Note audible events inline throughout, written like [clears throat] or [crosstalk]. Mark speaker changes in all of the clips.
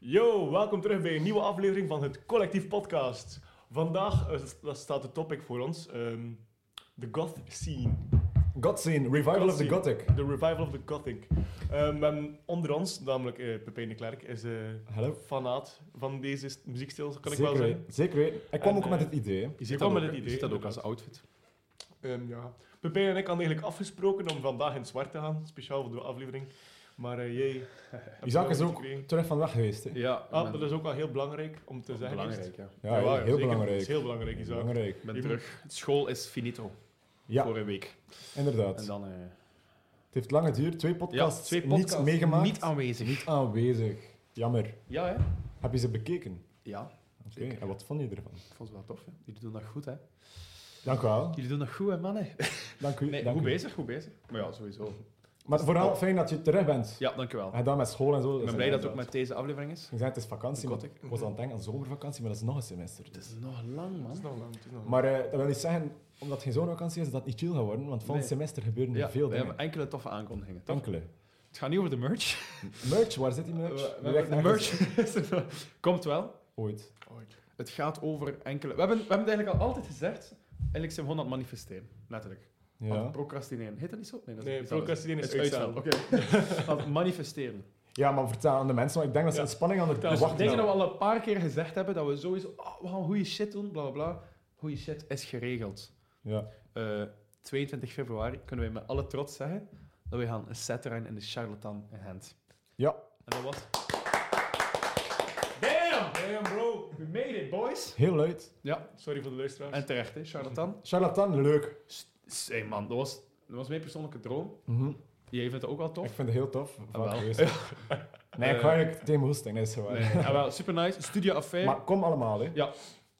Speaker 1: Yo, welkom terug bij een nieuwe aflevering van het Collectief Podcast. Vandaag eh, s- dat staat de topic voor ons: ehm, de goth scene.
Speaker 2: Godscene, Revival of
Speaker 1: Godscene.
Speaker 2: the Gothic.
Speaker 1: De revival of the gothic. Ehm, we hebben onder ons, namelijk eh, Pepijn de Klerk, is eh
Speaker 2: Hallo.
Speaker 1: fanaat van deze st- muziekstijl, kan ik
Speaker 2: Zeker
Speaker 1: wel zeggen.
Speaker 2: weten, Zeker weten. Ik kwam
Speaker 1: En,
Speaker 2: ook met
Speaker 1: eh,
Speaker 2: het idee. hè.
Speaker 1: Je
Speaker 3: Ziet
Speaker 1: kwam met
Speaker 3: dat ook,
Speaker 1: het
Speaker 3: hè?
Speaker 1: idee.
Speaker 3: Ziet dat ook als outfit?
Speaker 1: Ehm, ja. Pepijn en ik hadden eigenlijk afgesproken om vandaag in het zwart te gaan, speciaal voor de aflevering. Maar eh jij. hebt
Speaker 2: [laughs] Isaac
Speaker 1: wel
Speaker 2: is
Speaker 1: wat
Speaker 2: ook
Speaker 1: gekregen.
Speaker 2: terug van weg geweest. hè.
Speaker 3: Ja, ik
Speaker 1: Ah,
Speaker 3: ben-
Speaker 1: dat is ook wel heel belangrijk om te zeggen.
Speaker 3: belangrijk. Ja.
Speaker 2: Ja,
Speaker 1: Jawel,
Speaker 2: heel
Speaker 1: zeker. Dat
Speaker 2: belangrijk.
Speaker 1: is heel belangrijk, Isaac.
Speaker 2: Belangrijk.
Speaker 3: Ik ben
Speaker 1: Je
Speaker 3: terug. School is finito
Speaker 2: Ja,
Speaker 3: voor een week.
Speaker 2: inderdaad.
Speaker 3: En dan eh
Speaker 2: Het heeft lang geduurd. Twee
Speaker 3: ja,
Speaker 2: podcasts,
Speaker 3: twee podcasts
Speaker 2: niet meegemaakt.
Speaker 3: Niet aanwezig.
Speaker 2: Niet aanwezig. Jammer.
Speaker 3: Ja, hè?
Speaker 2: Heb je ze bekeken?
Speaker 3: Ja,
Speaker 2: Oké,
Speaker 3: Zeker.
Speaker 2: en wat vond je ervan?
Speaker 3: ik vond het wel tof. Hè? Jullie doen dat goed, hè?
Speaker 2: Dank u wel.
Speaker 3: Jullie doen dat goed, hè, mannen?
Speaker 2: Dank u.
Speaker 3: Nee,
Speaker 2: dank
Speaker 3: goed
Speaker 2: u.
Speaker 3: bezig, goed bezig. Maar ja, sowieso.
Speaker 2: Maar vooral fijn dat je terug bent.
Speaker 3: Ja, dankjewel.
Speaker 2: En dan met school en zo.
Speaker 3: Ik ben blij dat het ook met deze aflevering is.
Speaker 2: Ik zei, het is vakantie.
Speaker 3: De
Speaker 2: maar
Speaker 3: Gothic.
Speaker 2: Ik was aan het denken aan zomervakantie, maar dat is nog een semester.
Speaker 3: Het is nog lang,
Speaker 1: Het is
Speaker 3: man.
Speaker 1: nog lang, het is nog lang.
Speaker 2: Maar eh, dat wil niet zeggen, omdat het geen zomervakantie is, dat het niet chill gaat worden, want volgend
Speaker 3: Nee.
Speaker 2: semester gebeuren er
Speaker 3: Ja,
Speaker 2: veel
Speaker 3: we
Speaker 2: dingen.
Speaker 3: hebben enkele toffe aankondigingen. Tof.
Speaker 2: Enkele.
Speaker 3: Het gaat niet over de merch.
Speaker 2: Merch, waar zit die merch?
Speaker 3: We- we
Speaker 2: Die
Speaker 3: hebben-
Speaker 2: ligt
Speaker 3: de
Speaker 2: nergens
Speaker 3: merch [laughs] komt wel.
Speaker 2: Ooit.
Speaker 1: Ooit.
Speaker 3: Het gaat over enkele. We hebben, we hebben het eigenlijk al altijd gezegd. Eigenlijk zijn we gewoon aan het manifesteren. Letterlijk.
Speaker 2: Ja.
Speaker 3: Aan het procrastineren. Heet dat niet zo? dat is
Speaker 1: Nee,
Speaker 3: iets anders.
Speaker 1: procrastineren is
Speaker 3: Het uitstel.
Speaker 1: uitstel.
Speaker 3: Oké. [laughs] aan het manifesteren. Dus
Speaker 2: ja, maar vertel aan de mensen, want ik denk dat ze
Speaker 1: Ja.
Speaker 2: in spanning aan het
Speaker 1: Vertel ze.
Speaker 2: wachten
Speaker 3: Ik denk
Speaker 1: nou.
Speaker 3: dat we al een paar keer gezegd hebben dat we sowieso. oh, we gaan goede shit doen, bla bla bla. Goede shit is geregeld.
Speaker 2: Ja.
Speaker 3: Eh, 22 februari kunnen wij met alle trots zeggen dat we gaan een set draaien in de Charlatan in Gent.
Speaker 2: Ja.
Speaker 3: En dat was. Damn!
Speaker 1: Damn, bro.
Speaker 3: We made it, boys!
Speaker 2: Heel luid.
Speaker 3: Ja,
Speaker 1: Sorry voor de luisteraars.
Speaker 3: en terecht, hè, Charlatan.
Speaker 2: Charlatan, leuk.
Speaker 3: S- Hey man, dat was, dat was mijn persoonlijke droom.
Speaker 2: Mhm.
Speaker 3: Jij vindt het ook wel
Speaker 2: Ik
Speaker 3: tof. Ah,
Speaker 2: vind het heel tof. Vaak
Speaker 3: wel. [laughs]
Speaker 2: geweest. Nee, ik
Speaker 3: Eh.
Speaker 2: ga eigenlijk tegen mijn hoesting, dat is waar.
Speaker 3: Nee, ja, wel, super nice. Studio Affair.
Speaker 2: Maar kom allemaal, hè.
Speaker 3: Ja.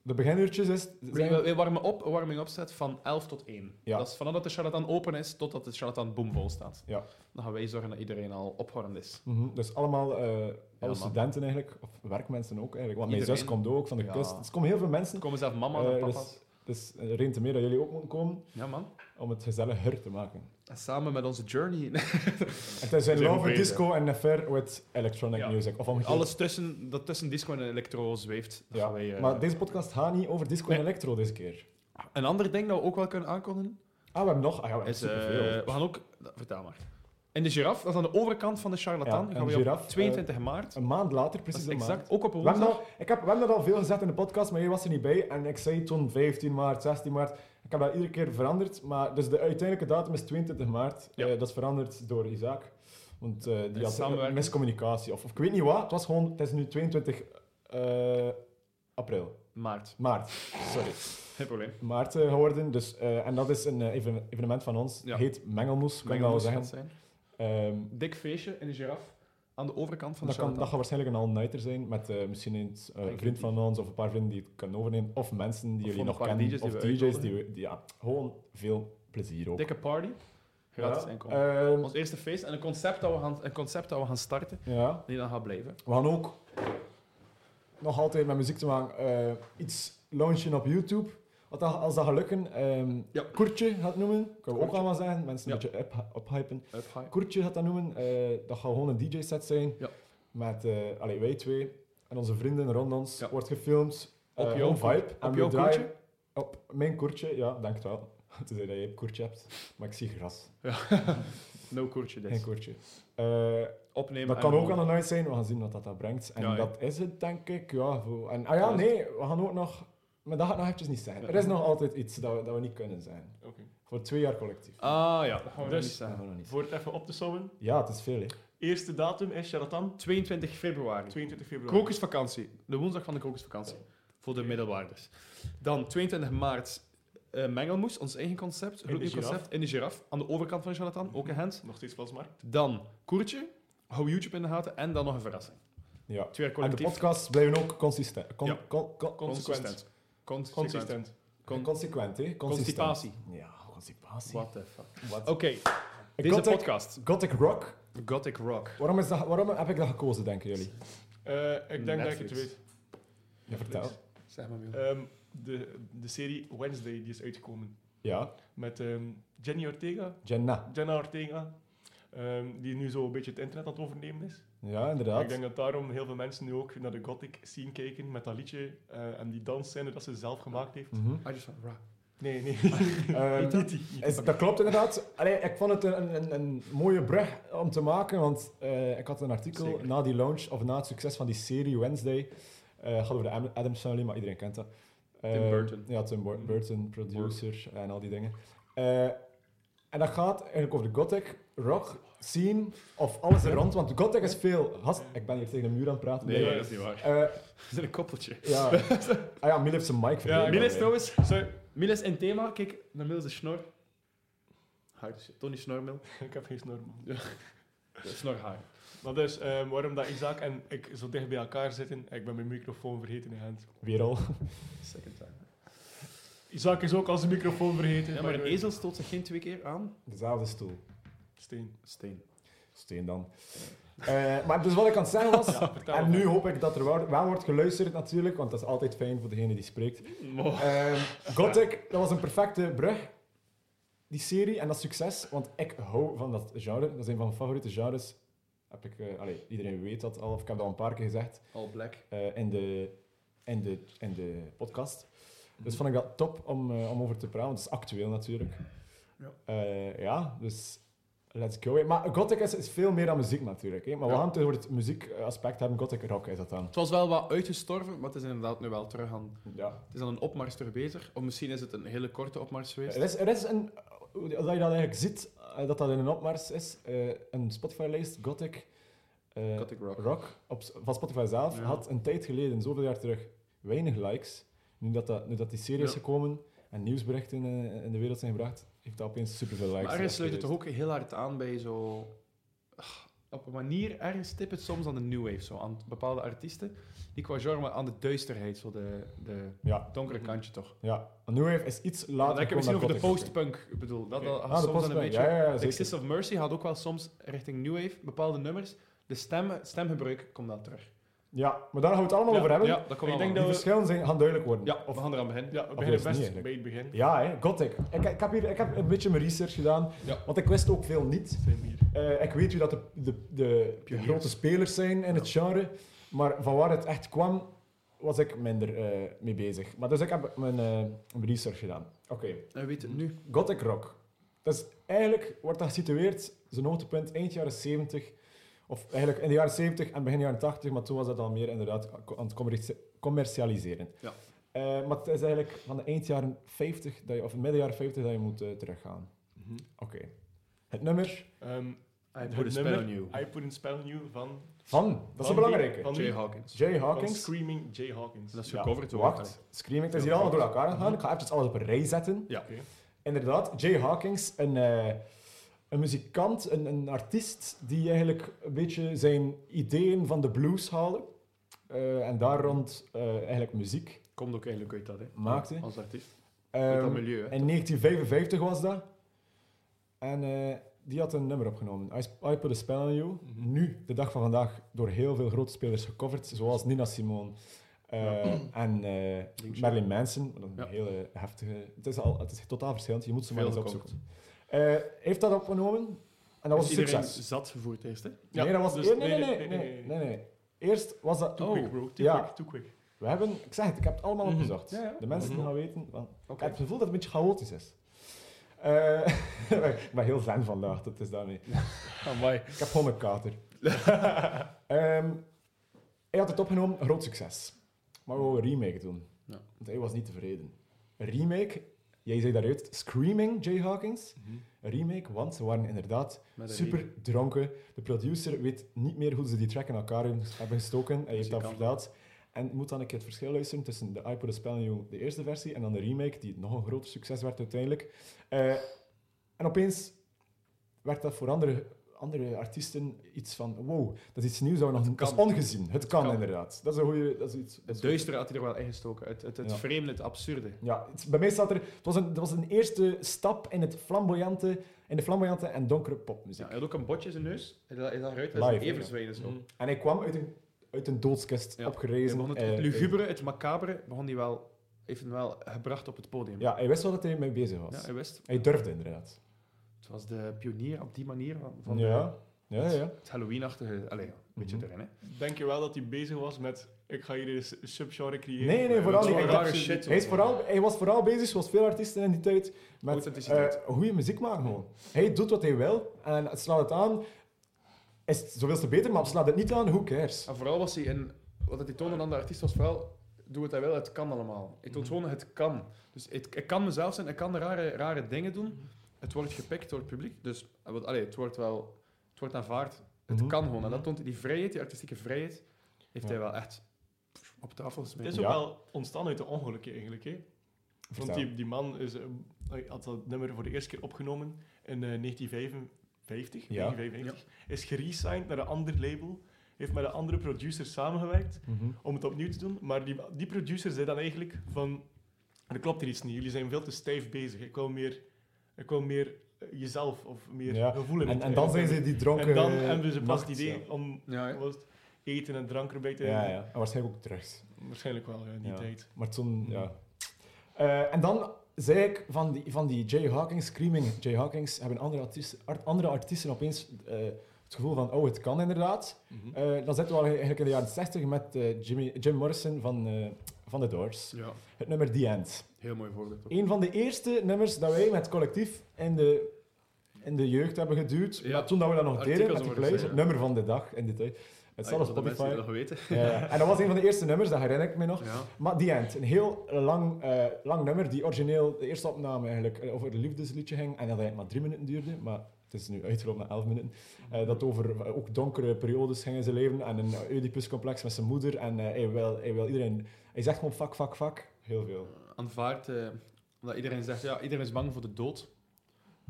Speaker 2: De beginuurtjes is...
Speaker 3: wij,
Speaker 2: Zijn...
Speaker 3: wij warmen op, een warming opzet van 11 tot 1.
Speaker 2: Ja.
Speaker 3: Dat is vanaf dat de charlatan open is totdat de charlatan boomvol staat.
Speaker 2: Ja.
Speaker 3: Dan gaan wij zorgen dat iedereen al opgewarmd is.
Speaker 2: Mhm, Dus allemaal eh, alle
Speaker 3: man.
Speaker 2: studenten eigenlijk, of werkmensen ook eigenlijk. Want mijn
Speaker 3: Iedereen.
Speaker 2: zus komt ook van de
Speaker 3: Ja.
Speaker 2: kust. Dus er komen heel veel mensen.
Speaker 3: Er komen zelf mama's
Speaker 2: Eh,
Speaker 3: en
Speaker 2: dus-
Speaker 3: papa's.
Speaker 2: Dus eh, reden te meer dat jullie ook moeten komen
Speaker 3: Ja man.
Speaker 2: om het gezelliger te maken.
Speaker 3: En samen met onze
Speaker 2: [laughs]
Speaker 3: journey.
Speaker 2: Het is een
Speaker 1: zijn
Speaker 2: love
Speaker 1: goed bezig.
Speaker 2: disco en affair with electronic
Speaker 3: Ja.
Speaker 2: music. Of omgekeerd.
Speaker 3: Alles tussen, dat tussen disco en electro zweeft. dat
Speaker 2: Ja,
Speaker 3: gaan wij, eh,
Speaker 2: maar deze podcast gaat niet over disco en
Speaker 3: Nee.
Speaker 2: electro deze keer.
Speaker 3: Een ander ding dat we ook wel kunnen aankondigen
Speaker 2: Ah, we hebben nog... Ah, ja, we hebben
Speaker 3: is, eh,
Speaker 2: superveel.
Speaker 3: we gaan ook... Vertel maar. In de giraf, dat is aan de overkant van de charlatan.
Speaker 2: Ja,
Speaker 3: gaan
Speaker 2: en
Speaker 3: we
Speaker 2: giraf,
Speaker 3: op 22 maart.
Speaker 2: Een maand later,
Speaker 3: Dat
Speaker 2: precies
Speaker 3: is
Speaker 2: een
Speaker 3: exact,
Speaker 2: maand.
Speaker 3: ook op een
Speaker 2: We hebben,
Speaker 3: woensdag.
Speaker 2: dat, ik heb, we hebben dat al veel gezet in de podcast, maar jij was er niet bij. En ik zei toen 15 maart, 16 maart. Ik heb dat iedere keer veranderd. Maar, dus de uiteindelijke datum is 22 maart.
Speaker 3: Ja.
Speaker 2: Eh, dat is veranderd door Isaac. Want eh, die had
Speaker 3: samenwerking.
Speaker 2: miscommunicatie. Of, of ik weet niet wat. Het, was gewoon, het is nu 22 eh, april.
Speaker 3: Maart,
Speaker 2: Maart. Sorry.
Speaker 3: geen probleem.
Speaker 2: Maart eh, geworden. Dus, eh, en dat is een eh, even- evenement van ons.
Speaker 3: Ja.
Speaker 2: Heet Mengelmoes, kan ik
Speaker 3: Mengelmoes
Speaker 2: wel
Speaker 3: gaat
Speaker 2: nou zeggen.
Speaker 3: het zijn.
Speaker 2: Ehm,
Speaker 3: Dik feestje in de giraf. Aan de overkant van de
Speaker 2: dat, kan,
Speaker 3: charlatan.
Speaker 2: dat gaat waarschijnlijk een all-nighter zijn met eh, misschien een eh,
Speaker 3: Enkele
Speaker 2: vriend
Speaker 3: die-
Speaker 2: van ons of een paar vrienden die het kunnen overnemen. Of mensen die
Speaker 3: Of
Speaker 2: jullie
Speaker 3: gewoon
Speaker 2: nog
Speaker 3: een paar
Speaker 2: kennen.
Speaker 3: DJ's die
Speaker 2: of
Speaker 3: we
Speaker 2: DJ's die
Speaker 3: uitnodigen.
Speaker 2: we... die- ja, gewoon veel plezier ook.
Speaker 3: Dikke party. Gratis
Speaker 2: ja.
Speaker 3: inkomen.
Speaker 2: Ehm,
Speaker 3: Ons eerste feest en een concept dat we gaan, een concept dat we gaan starten.
Speaker 2: ja.
Speaker 3: Die dan gaat blijven.
Speaker 2: We gaan ook nog altijd met muziek te maken eh, iets launchen op YouTube. Wat dat, als dat gaat lukken, ehm
Speaker 3: Ja.
Speaker 2: Koertje gaat noemen. Kunnen we ook
Speaker 3: Koertje.
Speaker 2: allemaal zeggen. Mensen een
Speaker 3: Ja.
Speaker 2: beetje up- ophypen.
Speaker 3: [laughs] Uphype.
Speaker 2: Koertje gaat dat noemen. eh, dat gaat gewoon een DJ-set zijn.
Speaker 3: Ja.
Speaker 2: Met eh, allee, wij twee en onze vrienden rond ons.
Speaker 3: Ja.
Speaker 2: Wordt gefilmd.
Speaker 3: Op
Speaker 2: eh,
Speaker 3: jouw
Speaker 2: gewoon vibe.
Speaker 3: koert-
Speaker 2: En
Speaker 3: op
Speaker 2: we
Speaker 3: jouw
Speaker 2: draaien-
Speaker 3: koertje?
Speaker 2: Op mijn koertje, ja, dank het wel. [laughs] Tenzij dat jij een koertje hebt. Maar ik zie gras.
Speaker 3: No koertje
Speaker 2: Geen
Speaker 3: dus.
Speaker 2: koertje. Eh,
Speaker 3: Opnemen.
Speaker 2: dat
Speaker 3: en
Speaker 2: kan ook
Speaker 3: gewoon-
Speaker 2: aan de night zijn. We gaan zien wat dat, dat brengt. En
Speaker 3: Ja, ja.
Speaker 2: dat is het, denk ik. Ja, voor- en, ah ja,
Speaker 3: Dat is
Speaker 2: nee, we gaan ook nog... Maar dat gaat nog eventjes niet zijn.
Speaker 3: Ja.
Speaker 2: Er is nog altijd iets dat we, dat we niet kunnen zijn.
Speaker 1: Oké.
Speaker 2: Voor twee jaar collectief.
Speaker 3: Ah ja, dat gaan we
Speaker 1: Dus-
Speaker 3: dus,
Speaker 2: Dat gaan
Speaker 3: niet zeggen.
Speaker 2: we nog niet.
Speaker 1: Voor het even op te sommen.
Speaker 2: Ja, het is veel, hè.
Speaker 1: Eerste datum is Charlatan,
Speaker 3: 22 februari.
Speaker 1: 22 februari.
Speaker 3: Krokusvakantie. De woensdag van de krokusvakantie. Voor de middelwaarders. Dan 22 maart eh, Mengelmoes, ons eigen concept.
Speaker 1: de
Speaker 3: Groot
Speaker 1: giraf.
Speaker 3: concept in de giraf. Aan de overkant van de charlatan, ook een hand.
Speaker 1: Nog steeds Valsmarkt.
Speaker 3: Dan Koertje. Hou YouTube in de gaten. En dan nog een verrassing.
Speaker 2: Ja. En
Speaker 3: Twee jaar
Speaker 2: de
Speaker 3: collectief.
Speaker 2: podcasts blijven ook consistent. Con-
Speaker 3: Ja.
Speaker 2: con- con-
Speaker 3: Consistent. Consistent.
Speaker 1: Consistent.
Speaker 3: Con-
Speaker 2: consequent, hè. Consistent.
Speaker 3: Constipatie.
Speaker 2: Ja, constipatie.
Speaker 3: What the fuck.
Speaker 2: Wat?
Speaker 3: Oké, deze
Speaker 2: Gothic-
Speaker 3: podcast.
Speaker 2: Gothic Rock.
Speaker 3: Gothic Rock.
Speaker 2: Waarom, is dat, waarom heb ik dat gekozen, denken jullie?
Speaker 1: Eh, ik denk dat ik het
Speaker 3: Netflix.
Speaker 1: weet.
Speaker 2: Ja, vertel.
Speaker 3: Zeg maar,
Speaker 1: Ehm, de, de serie Wednesday die is uitgekomen.
Speaker 2: Ja,
Speaker 1: Met ehm, Jenny Ortega.
Speaker 2: Jenna.
Speaker 1: Jenna Ortega. Eh, ehm, die nu zo een beetje het internet aan het overnemen is.
Speaker 2: Ja, inderdaad.
Speaker 1: Ik denk dat daarom heel veel mensen nu ook naar de gothic scene kijken met dat liedje eh, en die dansscène dat ze zelf gemaakt heeft.
Speaker 2: Mhm.
Speaker 3: [laughs] I just want rap.
Speaker 1: Nee, nee. [laughs]
Speaker 2: Ehm,
Speaker 1: Niet die.
Speaker 2: is, dat klopt inderdaad. Allee, ik vond het een, een, een mooie brug om te maken, want eh, ik had een artikel
Speaker 3: Zeker.
Speaker 2: na die launch, of na het succes van die serie Wednesday, eh gaat over de Am- Adams Family, maar iedereen kent dat.
Speaker 3: Tim
Speaker 2: Eh,
Speaker 3: Burton. Mm-hmm.
Speaker 2: Ja, Tim Bur-
Speaker 1: Mm.
Speaker 2: Burton, producer en al die dingen. Eh, en dat gaat eigenlijk over de gothic, rock, scene, of alles er rond, want gothic is veel... Gast, ik ben hier tegen de muur aan het praten.
Speaker 3: Nee,
Speaker 1: Nee.
Speaker 3: dat is niet [laughs] waar.
Speaker 2: Eh,
Speaker 3: We zijn een koppeltje. [laughs]
Speaker 2: ja. Ah ja, Miel heeft zijn mic vergeten.
Speaker 1: ik
Speaker 3: Miel
Speaker 1: ben
Speaker 3: is
Speaker 1: mee.
Speaker 3: trouwens...
Speaker 1: Sorry, [laughs]
Speaker 3: Miel is in thema. Kijk, naar Miel zijn snor. Haar dus. Tony Snormil.
Speaker 1: ik heb geen snor, man.
Speaker 3: Snorhaar.
Speaker 1: Maar dus, ehm, waarom dat Isaac en ik zo dicht bij elkaar zitten, ik ben mijn microfoon vergeten in hand.
Speaker 2: Weer al. [laughs]
Speaker 3: Second time.
Speaker 1: Isaac is ook al zijn microfoon vergeten.
Speaker 3: Ja, maar een ezel stoot zich geen twee keer aan.
Speaker 2: Dezelfde stoel.
Speaker 1: Steen.
Speaker 3: Steen.
Speaker 2: Steen dan. Eh, maar dus wat ik aan het zeggen was...
Speaker 1: [laughs] Ja, vertel
Speaker 2: en
Speaker 1: maar.
Speaker 2: nu hoop ik dat er wel, wel wordt geluisterd natuurlijk, want dat is altijd fijn voor degene die spreekt. Ehm, Gothic, dat was een perfecte brug. Die serie en dat succes, want ik hou van dat genre. Dat is een van mijn favoriete genres. Heb ik, eh, allee, iedereen weet dat al, of ik heb dat al een paar keer gezegd
Speaker 3: All black.
Speaker 2: eh, in, de, in, de, in de podcast. Dus vond ik dat top om, eh, om over te praten, want het is actueel natuurlijk.
Speaker 3: Ja.
Speaker 2: Eh, ja, dus let's go. hè. Maar Gothic is, is veel meer dan muziek natuurlijk. Hè. Maar we
Speaker 3: Ja.
Speaker 2: gaan het over het muziekaspect hebben. Gothic rock is dat dan.
Speaker 3: Het was wel wat uitgestorven, maar het is inderdaad nu wel terug aan...
Speaker 2: Ja.
Speaker 3: Het is aan een opmars terug bezig. Of misschien is het een hele korte opmars geweest.
Speaker 2: Er, is, er is een... Als je dat eigenlijk ziet, eh, dat dat in een opmars is, eh, een Spotify-lijst, Gothic, eh,
Speaker 3: Gothic rock.
Speaker 2: Rock op, van Spotify zelf
Speaker 3: Ja.
Speaker 2: had een tijd geleden, zoveel jaar terug, weinig likes. Nu dat, dat, nu dat die serie is
Speaker 3: Ja.
Speaker 2: gekomen en nieuwsberichten eh, in de wereld zijn gebracht, heeft dat opeens superveel likes.
Speaker 3: Maar
Speaker 2: Dat
Speaker 3: ergens
Speaker 2: is
Speaker 3: sluit het toch
Speaker 2: geweest.
Speaker 3: ook heel hard aan bij zo... Ah, Op een manier, ergens tip het soms aan de new wave, zo, aan bepaalde artiesten. Die qua genre aan de duisterheid, zo de, de
Speaker 2: Ja.
Speaker 3: donkere kantje toch.
Speaker 2: Ja, maar New Wave is iets later.
Speaker 3: Dan heb je misschien over
Speaker 2: gekomen
Speaker 3: de
Speaker 2: dan Gothic.
Speaker 3: postpunk, ik bedoel. Dat, dat had
Speaker 2: Ah, de
Speaker 3: soms dan een
Speaker 2: postpunk,
Speaker 3: beetje...
Speaker 2: ja, ja, ja, zeker.
Speaker 3: Exist of Mercy had ook wel soms richting new wave bepaalde nummers. De stem, stemgebruik komt dan terug.
Speaker 2: Ja, maar daar gaan we het allemaal
Speaker 1: Ja,
Speaker 2: over hebben.
Speaker 3: ja, dat komt
Speaker 1: Ik
Speaker 3: allemaal.
Speaker 1: denk
Speaker 2: Die
Speaker 1: dat we-
Speaker 2: verschillen zijn, gaan duidelijk worden.
Speaker 3: Ja, we gaan eraan beginnen.
Speaker 1: Ja, we
Speaker 2: juist
Speaker 1: beginnen
Speaker 2: niet,
Speaker 1: best
Speaker 2: eigenlijk.
Speaker 1: bij het begin.
Speaker 2: Ja, hè, Gothic. Ik, ik, heb hier, ik heb een beetje mijn research gedaan,
Speaker 3: Ja.
Speaker 2: want ik wist ook veel niet.
Speaker 1: Zijn we hier.
Speaker 2: Eh, ik weet wie dat de, de, de, de
Speaker 3: Pioniers.
Speaker 2: grote spelers zijn in het genre, maar van waar het echt kwam, was ik minder eh, mee bezig. Maar dus ik heb mijn eh, mijn research gedaan. Oké,
Speaker 3: En weet het nu.
Speaker 2: Gothic Rock. Dus eigenlijk wordt dat gesitueerd, zijn hoogtepunt, eind jaren 70, of eigenlijk in de jaren 70 en begin jaren 80, maar toen was dat al meer inderdaad aan het commerci- commercialiseren.
Speaker 3: Ja.
Speaker 2: Eh, maar het is eigenlijk van de eind jaren 50, dat je, of midden jaren 50, dat je moet eh, teruggaan. Oké. Het nummer
Speaker 1: Ehm,
Speaker 3: I
Speaker 1: Het
Speaker 3: put a spell
Speaker 1: nummer-
Speaker 3: on you.
Speaker 1: I put in spell new van...
Speaker 2: van, dat
Speaker 1: van
Speaker 2: is een belangrijke.
Speaker 1: wie? Van
Speaker 3: Jay
Speaker 1: wie?
Speaker 3: Hawkins.
Speaker 2: Jay
Speaker 1: Van
Speaker 2: Hawkins.
Speaker 1: Screaming Jay Hawkins.
Speaker 3: Dat is
Speaker 2: Ja,
Speaker 3: gecoverd. door-
Speaker 2: Wacht, Screaming. Het is hier allemaal door elkaar aan gaan. Ik ga even alles op een rij zetten.
Speaker 3: Ja.
Speaker 1: Oké.
Speaker 2: Inderdaad, Jay Hawkins, een, eh, een muzikant, een, een artiest die eigenlijk een beetje zijn ideeën van de blues haalde. eh, en daar rond eh, eigenlijk muziek
Speaker 3: Komt ook eigenlijk uit dat, hè.
Speaker 2: maakte.
Speaker 3: Als artiest. uit dat
Speaker 2: Ehm,
Speaker 3: milieu, hè.
Speaker 2: in 1955 was dat. En eh, die had een nummer opgenomen. I, I Put a Spell on You.
Speaker 1: Mhm.
Speaker 2: Nu, de dag van vandaag, door heel veel grote spelers gecoverd. Zoals Nina Simone eh, en eh,
Speaker 3: Linkshot.
Speaker 2: Marilyn Manson. Maar dat is een
Speaker 3: Ja.
Speaker 2: hele heftige... Het is, al, het is totaal verschillend. Je moet ze maar
Speaker 3: Veel
Speaker 2: eens
Speaker 3: gecoverd.
Speaker 2: opzoeken. Eh, heeft dat opgenomen. En dat was
Speaker 3: Is
Speaker 2: een
Speaker 3: iedereen
Speaker 2: succes.
Speaker 3: zat gevoerd eerst, hè?
Speaker 1: Ja,
Speaker 2: nee, dat was...
Speaker 1: dus-
Speaker 2: nee, nee, nee, nee, nee, nee. Eerst was dat...
Speaker 1: Too
Speaker 2: Oh,
Speaker 1: quick, bro. Too
Speaker 2: ja.
Speaker 1: quick, too quick.
Speaker 2: We hebben... Ik zeg het, ik heb het allemaal
Speaker 1: Mhm.
Speaker 2: opgezocht.
Speaker 3: Ja, ja.
Speaker 2: De mensen die
Speaker 1: Mhm.
Speaker 2: gaan weten... want
Speaker 3: Oké.
Speaker 2: ik heb het gevoel dat het een beetje chaotisch is. Eh, [laughs] ik ben heel zen vandaag, dat is daarmee.
Speaker 3: Amai.
Speaker 2: Ik heb gewoon mijn
Speaker 3: [laughs]
Speaker 2: kater. Ehm, hij had het opgenomen, groot succes. Maar we wouden een remake doen.
Speaker 3: Ja.
Speaker 2: Want hij was niet tevreden. Een remake, jij zei daaruit, Screaming Jay Hawkins.
Speaker 3: Mhm.
Speaker 2: Een remake, want ze waren inderdaad
Speaker 3: Met een
Speaker 2: super dronken. De producer weet niet meer hoe ze die track in elkaar hebben hebben gestoken.
Speaker 3: Dus
Speaker 2: Hij heeft dat
Speaker 3: Muzikant.
Speaker 2: verteld. En je moet dan een keer het verschil luisteren tussen de iPod Spell New, de eerste versie, en dan de remake, die nog een groter succes werd uiteindelijk. Eh, en opeens werd dat voor andere, andere artiesten iets van: wow, dat is iets nieuws dat we nog niet. Dat is
Speaker 3: kan.
Speaker 2: ongezien. Het kan,
Speaker 3: kan.
Speaker 2: inderdaad. Dat is een goede. Dat is iets. dat
Speaker 3: Het
Speaker 2: is goed.
Speaker 3: duistere had hij er wel ingestoken. Het, het, het
Speaker 2: Ja.
Speaker 3: vreemde, het absurde.
Speaker 2: Ja, het- bij mij staat er. Het was, een, het was een eerste stap in, het flamboyante, in de flamboyante en donkere popmuziek.
Speaker 3: Ja, hij had ook een botje in zijn neus. Hij zag hij zag eruit
Speaker 2: Live,
Speaker 3: als een
Speaker 2: hè, Mm.
Speaker 3: everzwijnen. zo.
Speaker 1: Mhm.
Speaker 2: En hij kwam uit een, uit een doodskist
Speaker 3: Ja, Hij
Speaker 2: opgerezen.
Speaker 3: begon het,
Speaker 2: eh,
Speaker 3: het lugubere, het macabere, begon hij wel, heeft hem wel gebracht op het podium.
Speaker 2: eh, Ja, hij wist wel dat hij mee bezig was.
Speaker 3: Ja, hij wist.
Speaker 2: Hij durfde inderdaad.
Speaker 3: Het Ze was de pionier op die manier van, van
Speaker 2: Ja, ja, ja.
Speaker 3: het Halloween-achtige. Allee, een beetje
Speaker 2: Mhm.
Speaker 3: erin, hè.
Speaker 1: Denk je wel dat hij bezig was met... Ik ga hier een s- subgenre creëren.
Speaker 2: Nee, nee,
Speaker 1: Eh,
Speaker 2: vooral
Speaker 1: dat
Speaker 2: niet.
Speaker 1: is
Speaker 2: Ik
Speaker 1: wel
Speaker 2: dacht-
Speaker 1: rare shit.
Speaker 2: Hij, is vooral, hij was vooral bezig, zoals veel artiesten in die tijd, met
Speaker 3: Authenticiteit.
Speaker 2: eh, goede muziek maken gewoon. Hij doet wat hij wil en het slaat het aan. Is het zoveelste beter, maar slaat het niet aan, who cares?
Speaker 3: En vooral was hij in... Wat hij toonde aan de artiest was vooral... Doe wat hij wil, het kan allemaal. Hij toont
Speaker 1: Mhm.
Speaker 3: gewoon, het kan. Dus het, ik kan mezelf zijn, ik kan rare, rare dingen
Speaker 1: Mhm.
Speaker 3: doen. Het wordt gepikt door het publiek. Dus eh, wat- allee, het wordt wel... Het wordt aanvaard. Het
Speaker 2: Mhm.
Speaker 3: kan gewoon. En dat
Speaker 1: Mhm.
Speaker 3: toont hij- die vrijheid, die artistieke vrijheid, heeft
Speaker 2: Ja.
Speaker 3: hij wel echt op tafel
Speaker 1: Het
Speaker 3: gesmeten.
Speaker 1: is ook
Speaker 2: Ja.
Speaker 1: wel ontstaan uit een ongelukje eigenlijk. Hè? Want
Speaker 2: Vertel.
Speaker 1: die, die man is, eh, hij had dat nummer voor de eerste keer opgenomen in eh, 1955.
Speaker 2: Ja.
Speaker 1: 1955 Is geresigned naar een ander label. Heeft met een andere producer samengewerkt
Speaker 2: Mhm.
Speaker 1: om het opnieuw te doen. Maar die, die producer zei dan eigenlijk van... Er klopt hier iets niet. Jullie zijn veel te stijf bezig. Ik wil meer, ik wil meer eh, jezelf of meer
Speaker 2: Ja.
Speaker 1: gevoel in
Speaker 2: En,
Speaker 1: het,
Speaker 2: en dan
Speaker 1: eh,
Speaker 2: zijn ze die dronken.
Speaker 1: En dan
Speaker 2: eh,
Speaker 1: hebben ze pas het
Speaker 2: nachts,
Speaker 1: idee om
Speaker 3: Ja, hè.
Speaker 1: wat was het, eten en drank erbij te
Speaker 2: Ja, ja. ja. En waarschijnlijk ook drugs.
Speaker 1: Waarschijnlijk wel, ja, in die
Speaker 2: Ja.
Speaker 1: tijd.
Speaker 2: Maar toen, ja. Eh, en dan zei ik van die, van die Jay Hawkins, Screaming Jay Hawkins, hebben andere artiesten, art- andere artiesten opeens eh, het gevoel van, oh, het kan inderdaad.
Speaker 1: Mhm.
Speaker 2: Eh, dan zitten we eigenlijk in de jaren 60 met eh, Jimmy, Jim Morrison van, eh, van The Doors.
Speaker 3: Ja,
Speaker 2: Het nummer The End.
Speaker 3: heel mooi voorbeeld. ook.
Speaker 2: Een van de eerste nummers dat wij met collectief in de, in de jeugd hebben geduwd.
Speaker 3: Ja.
Speaker 2: Maar toen dat we dat nog deden
Speaker 3: Artikels
Speaker 2: met die
Speaker 3: over
Speaker 2: plays,
Speaker 3: gezien,
Speaker 2: het
Speaker 3: ja.
Speaker 2: nummer van de dag in de tijd. Het staat op
Speaker 3: Ah, dat de mensen
Speaker 2: Spotify.
Speaker 3: die dat weten.
Speaker 2: Ja, ja. en dat was een van de eerste nummers, dat herinner ik me nog.
Speaker 3: Ja.
Speaker 2: Maar The End, een heel lang, eh, lang nummer die origineel, de eerste opname eigenlijk, eh, over een liefdesliedje ging en dat eigenlijk maar drie minuten duurde, maar het is nu uitgelopen naar elf minuten. Eh, dat over eh, ook donkere periodes ging in zijn leven en een Oedipuscomplex met zijn moeder en eh, hij, wil, hij wil iedereen, hij zegt gewoon fuck, fuck, fuck, heel veel.
Speaker 3: Aanvaard, eh, omdat iedereen zegt, ja, iedereen is bang voor de dood.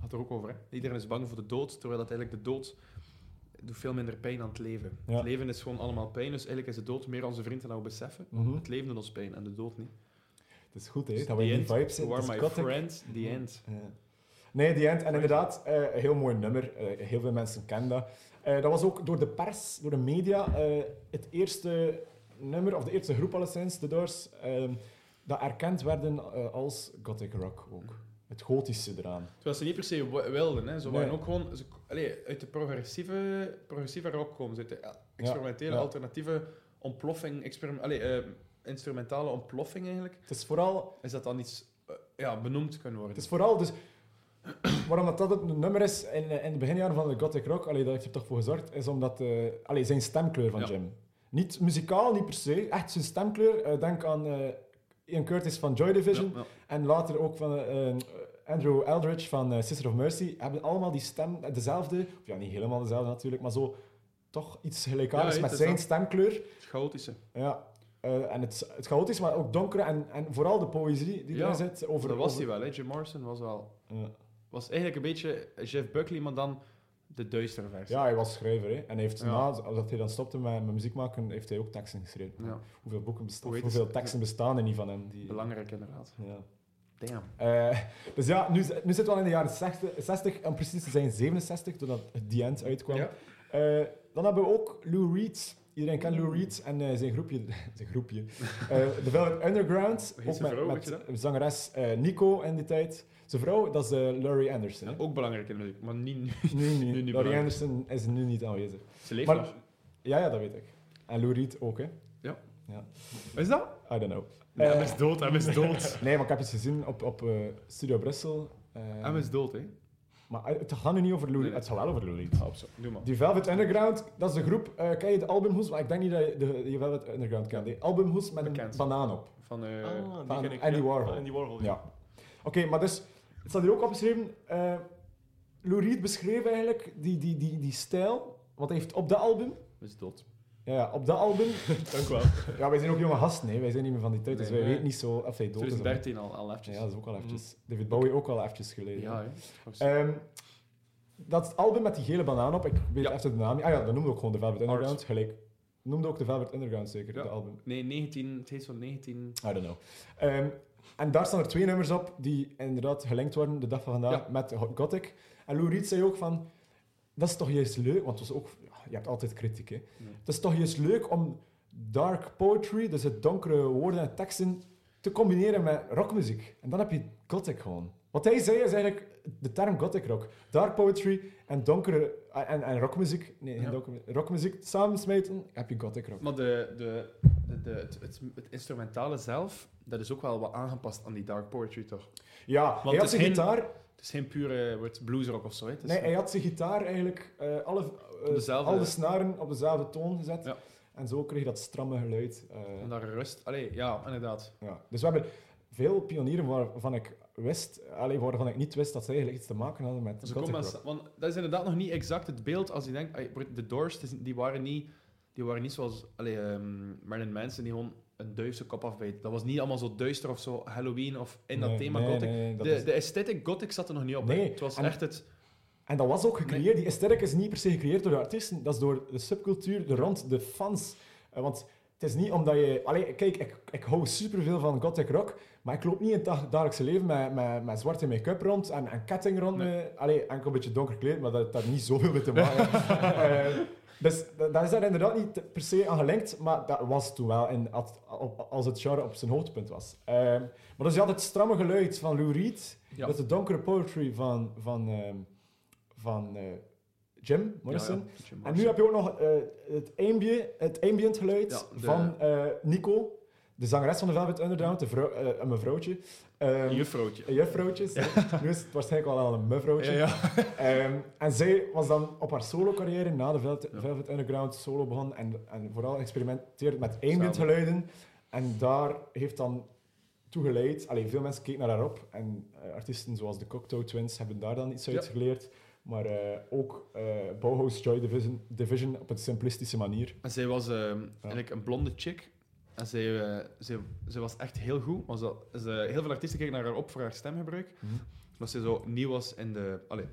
Speaker 3: Had er ook over, hè. Iedereen is bang voor de dood, terwijl dat eigenlijk de dood doet veel minder pijn aan het leven.
Speaker 2: Ja.
Speaker 3: Het leven is gewoon allemaal pijn, dus eigenlijk is de dood meer onze vriend dan we beseffen.
Speaker 2: Mhm.
Speaker 3: Het leven doet ons pijn en de dood niet.
Speaker 2: Het is goed hè,
Speaker 3: Dus
Speaker 2: dat we in
Speaker 3: the
Speaker 2: die
Speaker 3: end,
Speaker 2: vibe
Speaker 3: You
Speaker 2: zitten.
Speaker 3: are
Speaker 2: Dat is
Speaker 3: my
Speaker 2: gothic.
Speaker 3: friend, the end.
Speaker 2: Ja. Nee, die End. En inderdaad, eh, een heel mooi nummer. Eh, heel veel mensen kennen dat. Eh, dat was ook door de pers, door de media, eh, het eerste nummer, of de eerste groep alleszins, de Doors, ehm, dat erkend werden eh, als gothic rock ook. Het gotische eraan.
Speaker 3: Terwijl ze niet per se w- wilden, hè. Ze
Speaker 2: Nee.
Speaker 3: waren ook gewoon... Ze, allee, uit de progressieve, progressieve rock komen ze. Uit de eh, experimentele,
Speaker 2: ja.
Speaker 3: alternatieve ontploffing... Experim, allee, eh, instrumentale ontploffing, eigenlijk.
Speaker 2: Het is vooral,
Speaker 3: Is dat dan iets eh, ja, benoemd kunnen worden?
Speaker 2: het is vooral dus, [clears throat] waarom dat, dat een nummer is in, eh, in de beginjaren van de gothic rock, allee, daar heeft hij toch voor gezorgd, is omdat eh, allee, zijn stemkleur van
Speaker 3: Ja.
Speaker 2: Jim. Niet muzikaal, niet per se, echt zijn stemkleur. Eh, denk aan eh, Ian Curtis van Joy
Speaker 3: Ja,
Speaker 2: Division.
Speaker 3: ja.
Speaker 2: En later ook van eh, eh, Andrew Eldridge van eh, Sister of Mercy hebben allemaal die stem, eh, dezelfde, of ja, niet helemaal dezelfde natuurlijk, maar zo toch iets gelijkaardigs
Speaker 3: Ja,
Speaker 2: met
Speaker 3: het is
Speaker 2: zijn
Speaker 3: dat.
Speaker 2: stemkleur.
Speaker 3: Het chaotische.
Speaker 2: Ja. eh, en het, het chaotisch, maar ook donker en, en vooral de poëzie die
Speaker 3: Ja,
Speaker 2: erin zit. Over,
Speaker 3: dat was
Speaker 2: over-
Speaker 3: hij wel, hè. Jim Morrison was wel...
Speaker 2: Ja.
Speaker 3: Was eigenlijk een beetje Jeff Buckley, maar dan de duistere versie.
Speaker 2: Ja, hij was schrijver. Hè. En hij heeft
Speaker 3: Ja.
Speaker 2: na dat hij dan stopte met, met muziek maken, heeft hij ook teksten geschreven.
Speaker 3: Ja,
Speaker 2: Hoeveel boeken bestaan,
Speaker 3: Poëtisch.
Speaker 2: hoeveel teksten bestaan er niet van hem? Die,
Speaker 3: belangrijk inderdaad.
Speaker 2: Ja.
Speaker 3: Damn.
Speaker 2: Eh, dus ja, nu, nu zitten we al in de jaren 60, 60 om precies te zijn 67, doordat het The End uitkwam.
Speaker 3: Ja.
Speaker 2: Eh, dan hebben we ook Lou Reed. Iedereen kent Lou Reed en eh, zijn groepje. [laughs] zijn groepje. Eh, de Velvet Underground.
Speaker 3: Hoe heet
Speaker 2: Ook
Speaker 3: zijn
Speaker 2: met,
Speaker 3: vrouw,
Speaker 2: met
Speaker 3: weet je
Speaker 2: zangeres eh, Nico in die tijd. Zijn vrouw, dat is eh, Laurie Anderson.
Speaker 3: Ja,
Speaker 2: hè.
Speaker 3: ook belangrijk in de muziek, maar niet nu. [laughs]
Speaker 2: Nu, niet.
Speaker 3: niet
Speaker 2: Laurie
Speaker 3: belangrijk.
Speaker 2: Anderson is nu niet aanwezig.
Speaker 3: Ze leeft
Speaker 2: Maar-
Speaker 3: nog.
Speaker 2: Ja, ja, dat weet ik. En Lou Reed ook, hè?
Speaker 3: Is dat?
Speaker 2: I don't know.
Speaker 3: Nee,
Speaker 2: Eh,
Speaker 3: hij is dood, hij is dood.
Speaker 2: [laughs] nee, maar ik heb iets gezien op, op eh, Studio Brussel. Eh,
Speaker 3: Hij is dood, hè?
Speaker 2: Maar eh, het gaat nu niet over Lou
Speaker 3: Nee,
Speaker 2: Reed.
Speaker 3: nee.
Speaker 2: Het gaat wel over Lou Reed.
Speaker 3: Hou op zo, doe maar.
Speaker 2: Ah, Die Velvet Underground, dat is de groep. eh, ken je de albumhoes? Maar ik denk niet dat je de die Velvet Underground kent. Die albumhoes met
Speaker 3: Bekend.
Speaker 2: een banaan op.
Speaker 3: Van, eh,
Speaker 1: Ah, die
Speaker 2: van
Speaker 1: ken ik.
Speaker 2: Andy
Speaker 1: ja.
Speaker 2: Warhol.
Speaker 1: Andy Warhol,
Speaker 2: Ja. Oké, maar dus, het staat hier ook opgeschreven. eh Lou Reed beschreef eigenlijk die, die, die, die stijl. Wat hij heeft op dat album.
Speaker 3: is dood.
Speaker 2: Ja, ja, op dat album. [laughs]
Speaker 1: Dank u wel.
Speaker 2: ja, wij zijn ook jonge gasten, hè. wij zijn niet meer van die tijd.
Speaker 3: Nee,
Speaker 2: dus wij
Speaker 3: nee.
Speaker 2: weten niet zo of hij dood is. of niet.
Speaker 3: 2013 al, al eventjes.
Speaker 2: Ja, dat is ook al eventjes. David Bowie ook al eventjes geleden.
Speaker 3: Ja, hè.
Speaker 2: Ehm, dat is het album met die gele banaan op. Ik weet
Speaker 3: Ja.
Speaker 2: even de naam. niet. Ah ja, dat noemde ook gewoon de Velvet
Speaker 3: Art.
Speaker 2: Underground. Gelijk. Noemde ook de Velvet Underground zeker,
Speaker 3: Ja.
Speaker 2: de album.
Speaker 3: Nee, 19, het heet zo 19.
Speaker 2: I don't know. Ehm, en daar staan er twee nummers op die inderdaad gelinkt worden de dag van vandaag
Speaker 3: Ja.
Speaker 2: met Gothic. En Lou Reed zei ook van, dat is toch juist leuk, want het was ook, ja, je hebt altijd kritiek hè.
Speaker 3: Nee.
Speaker 2: Het is toch juist leuk om dark poetry, dus het donkere woorden en teksten, te combineren met rockmuziek. En dan heb je gothic gewoon. Wat hij zei is eigenlijk de term gothic rock. Dark poetry en donkere... eh, En, en rockmuziek... Nee, geen
Speaker 3: Ja.
Speaker 2: donkere- rockmuziek samensmeten, heb je gothic rock.
Speaker 3: Maar de, de, de, de- het, het, het instrumentale zelf, dat is ook wel wat aangepast aan die dark poetry, toch?
Speaker 2: Ja, hij
Speaker 3: het
Speaker 2: had
Speaker 3: is
Speaker 2: zijn
Speaker 3: geen-
Speaker 2: gitaar...
Speaker 3: Het is geen pure eh, wordt bluesrock of zo. hè. Het is
Speaker 2: Nee, hij had zijn gitaar eigenlijk eh, alle, eh,
Speaker 3: Op dezelfde-
Speaker 2: al de snaren op dezelfde toon gezet.
Speaker 3: Ja.
Speaker 2: En zo kreeg je dat stramme geluid. eh,
Speaker 3: En daar rust. Allee, ja, inderdaad.
Speaker 2: ja. Dus we hebben veel pionieren waarvan ik wist, allee, waarvan ik niet wist dat ze eigenlijk iets te maken hadden met
Speaker 3: Ze
Speaker 2: gothic
Speaker 3: komen
Speaker 2: rock.
Speaker 3: als- want dat is inderdaad nog niet exact het beeld als je denkt. allee, broer, De Doors, het is- die waren niet, die waren niet zoals allee, ehm, Marilyn Manson, die gewoon een duifse kop afbeet. Dat was niet allemaal zo duister of zo Halloween of in dat
Speaker 2: Nee,
Speaker 3: thema
Speaker 2: nee,
Speaker 3: gothic.
Speaker 2: nee, dat
Speaker 3: de,
Speaker 2: is-
Speaker 3: de aesthetic gothic zat er nog niet op. hè.
Speaker 2: Nee,
Speaker 3: het was
Speaker 2: en-
Speaker 3: echt het.
Speaker 2: En dat was ook gecreëerd.
Speaker 3: Nee.
Speaker 2: Die aesthetic is niet per se gecreëerd door de artiesten. Dat is door de subcultuur, de rond, de fans. Eh, want het is niet omdat je... Allee, kijk, ik, ik hou superveel van gothic rock, maar ik loop niet in het dag- dagelijkse leven met, met, met zwarte make-up rond en, en ketting rond.
Speaker 3: Nee.
Speaker 2: me. Allee, enkel een beetje donker kleed, maar dat heeft daar niet zoveel mee te maken.
Speaker 3: [laughs]
Speaker 2: Eh, dus dat dat is daar inderdaad niet per se aan gelinkt, maar dat was toen wel in, at- op- als het genre op zijn hoogtepunt was. Ehm, maar dus je had het stramme geluid van Lou Reed,
Speaker 3: Ja.
Speaker 2: dat de donkere poetry van, van, ehm, van eh, Jim Morrison.
Speaker 3: Ja, ja, Jim
Speaker 2: En nu
Speaker 3: Morrison.
Speaker 2: heb je ook nog eh, het, ambient, het ambient geluid
Speaker 3: Ja, de-
Speaker 2: van eh, Nico, de zangeres van de Velvet Underground, de vrou- eh, een mevrouwtje. Ehm,
Speaker 3: Een juffrouwtje.
Speaker 2: een juffrouwtje. sorry. Nu is het waarschijnlijk wel een mevrouwtje. [laughs] Ehm, en zij was dan op haar solo-carrière na de Velvet,
Speaker 3: Ja.
Speaker 2: Velvet Underground solo begonnen en, en vooral experimenteerde met ambient geluiden. En daar heeft dan toe geleid, allee, veel mensen keken naar haar op en eh, artiesten zoals de Cocteau Twins hebben daar dan iets uit
Speaker 3: Ja.
Speaker 2: geleerd. Maar eh, ook eh, Bauhaus Joy Division, Division op een simplistische manier.
Speaker 3: En zij was ehm, eigenlijk een blonde chick. En zij, eh, zij, zij was echt heel goed. Want ze, ze- heel veel artiesten keken naar haar op voor haar stemgebruik.
Speaker 2: Mhm.
Speaker 3: Omdat ze zo nieuw was in de... Allee,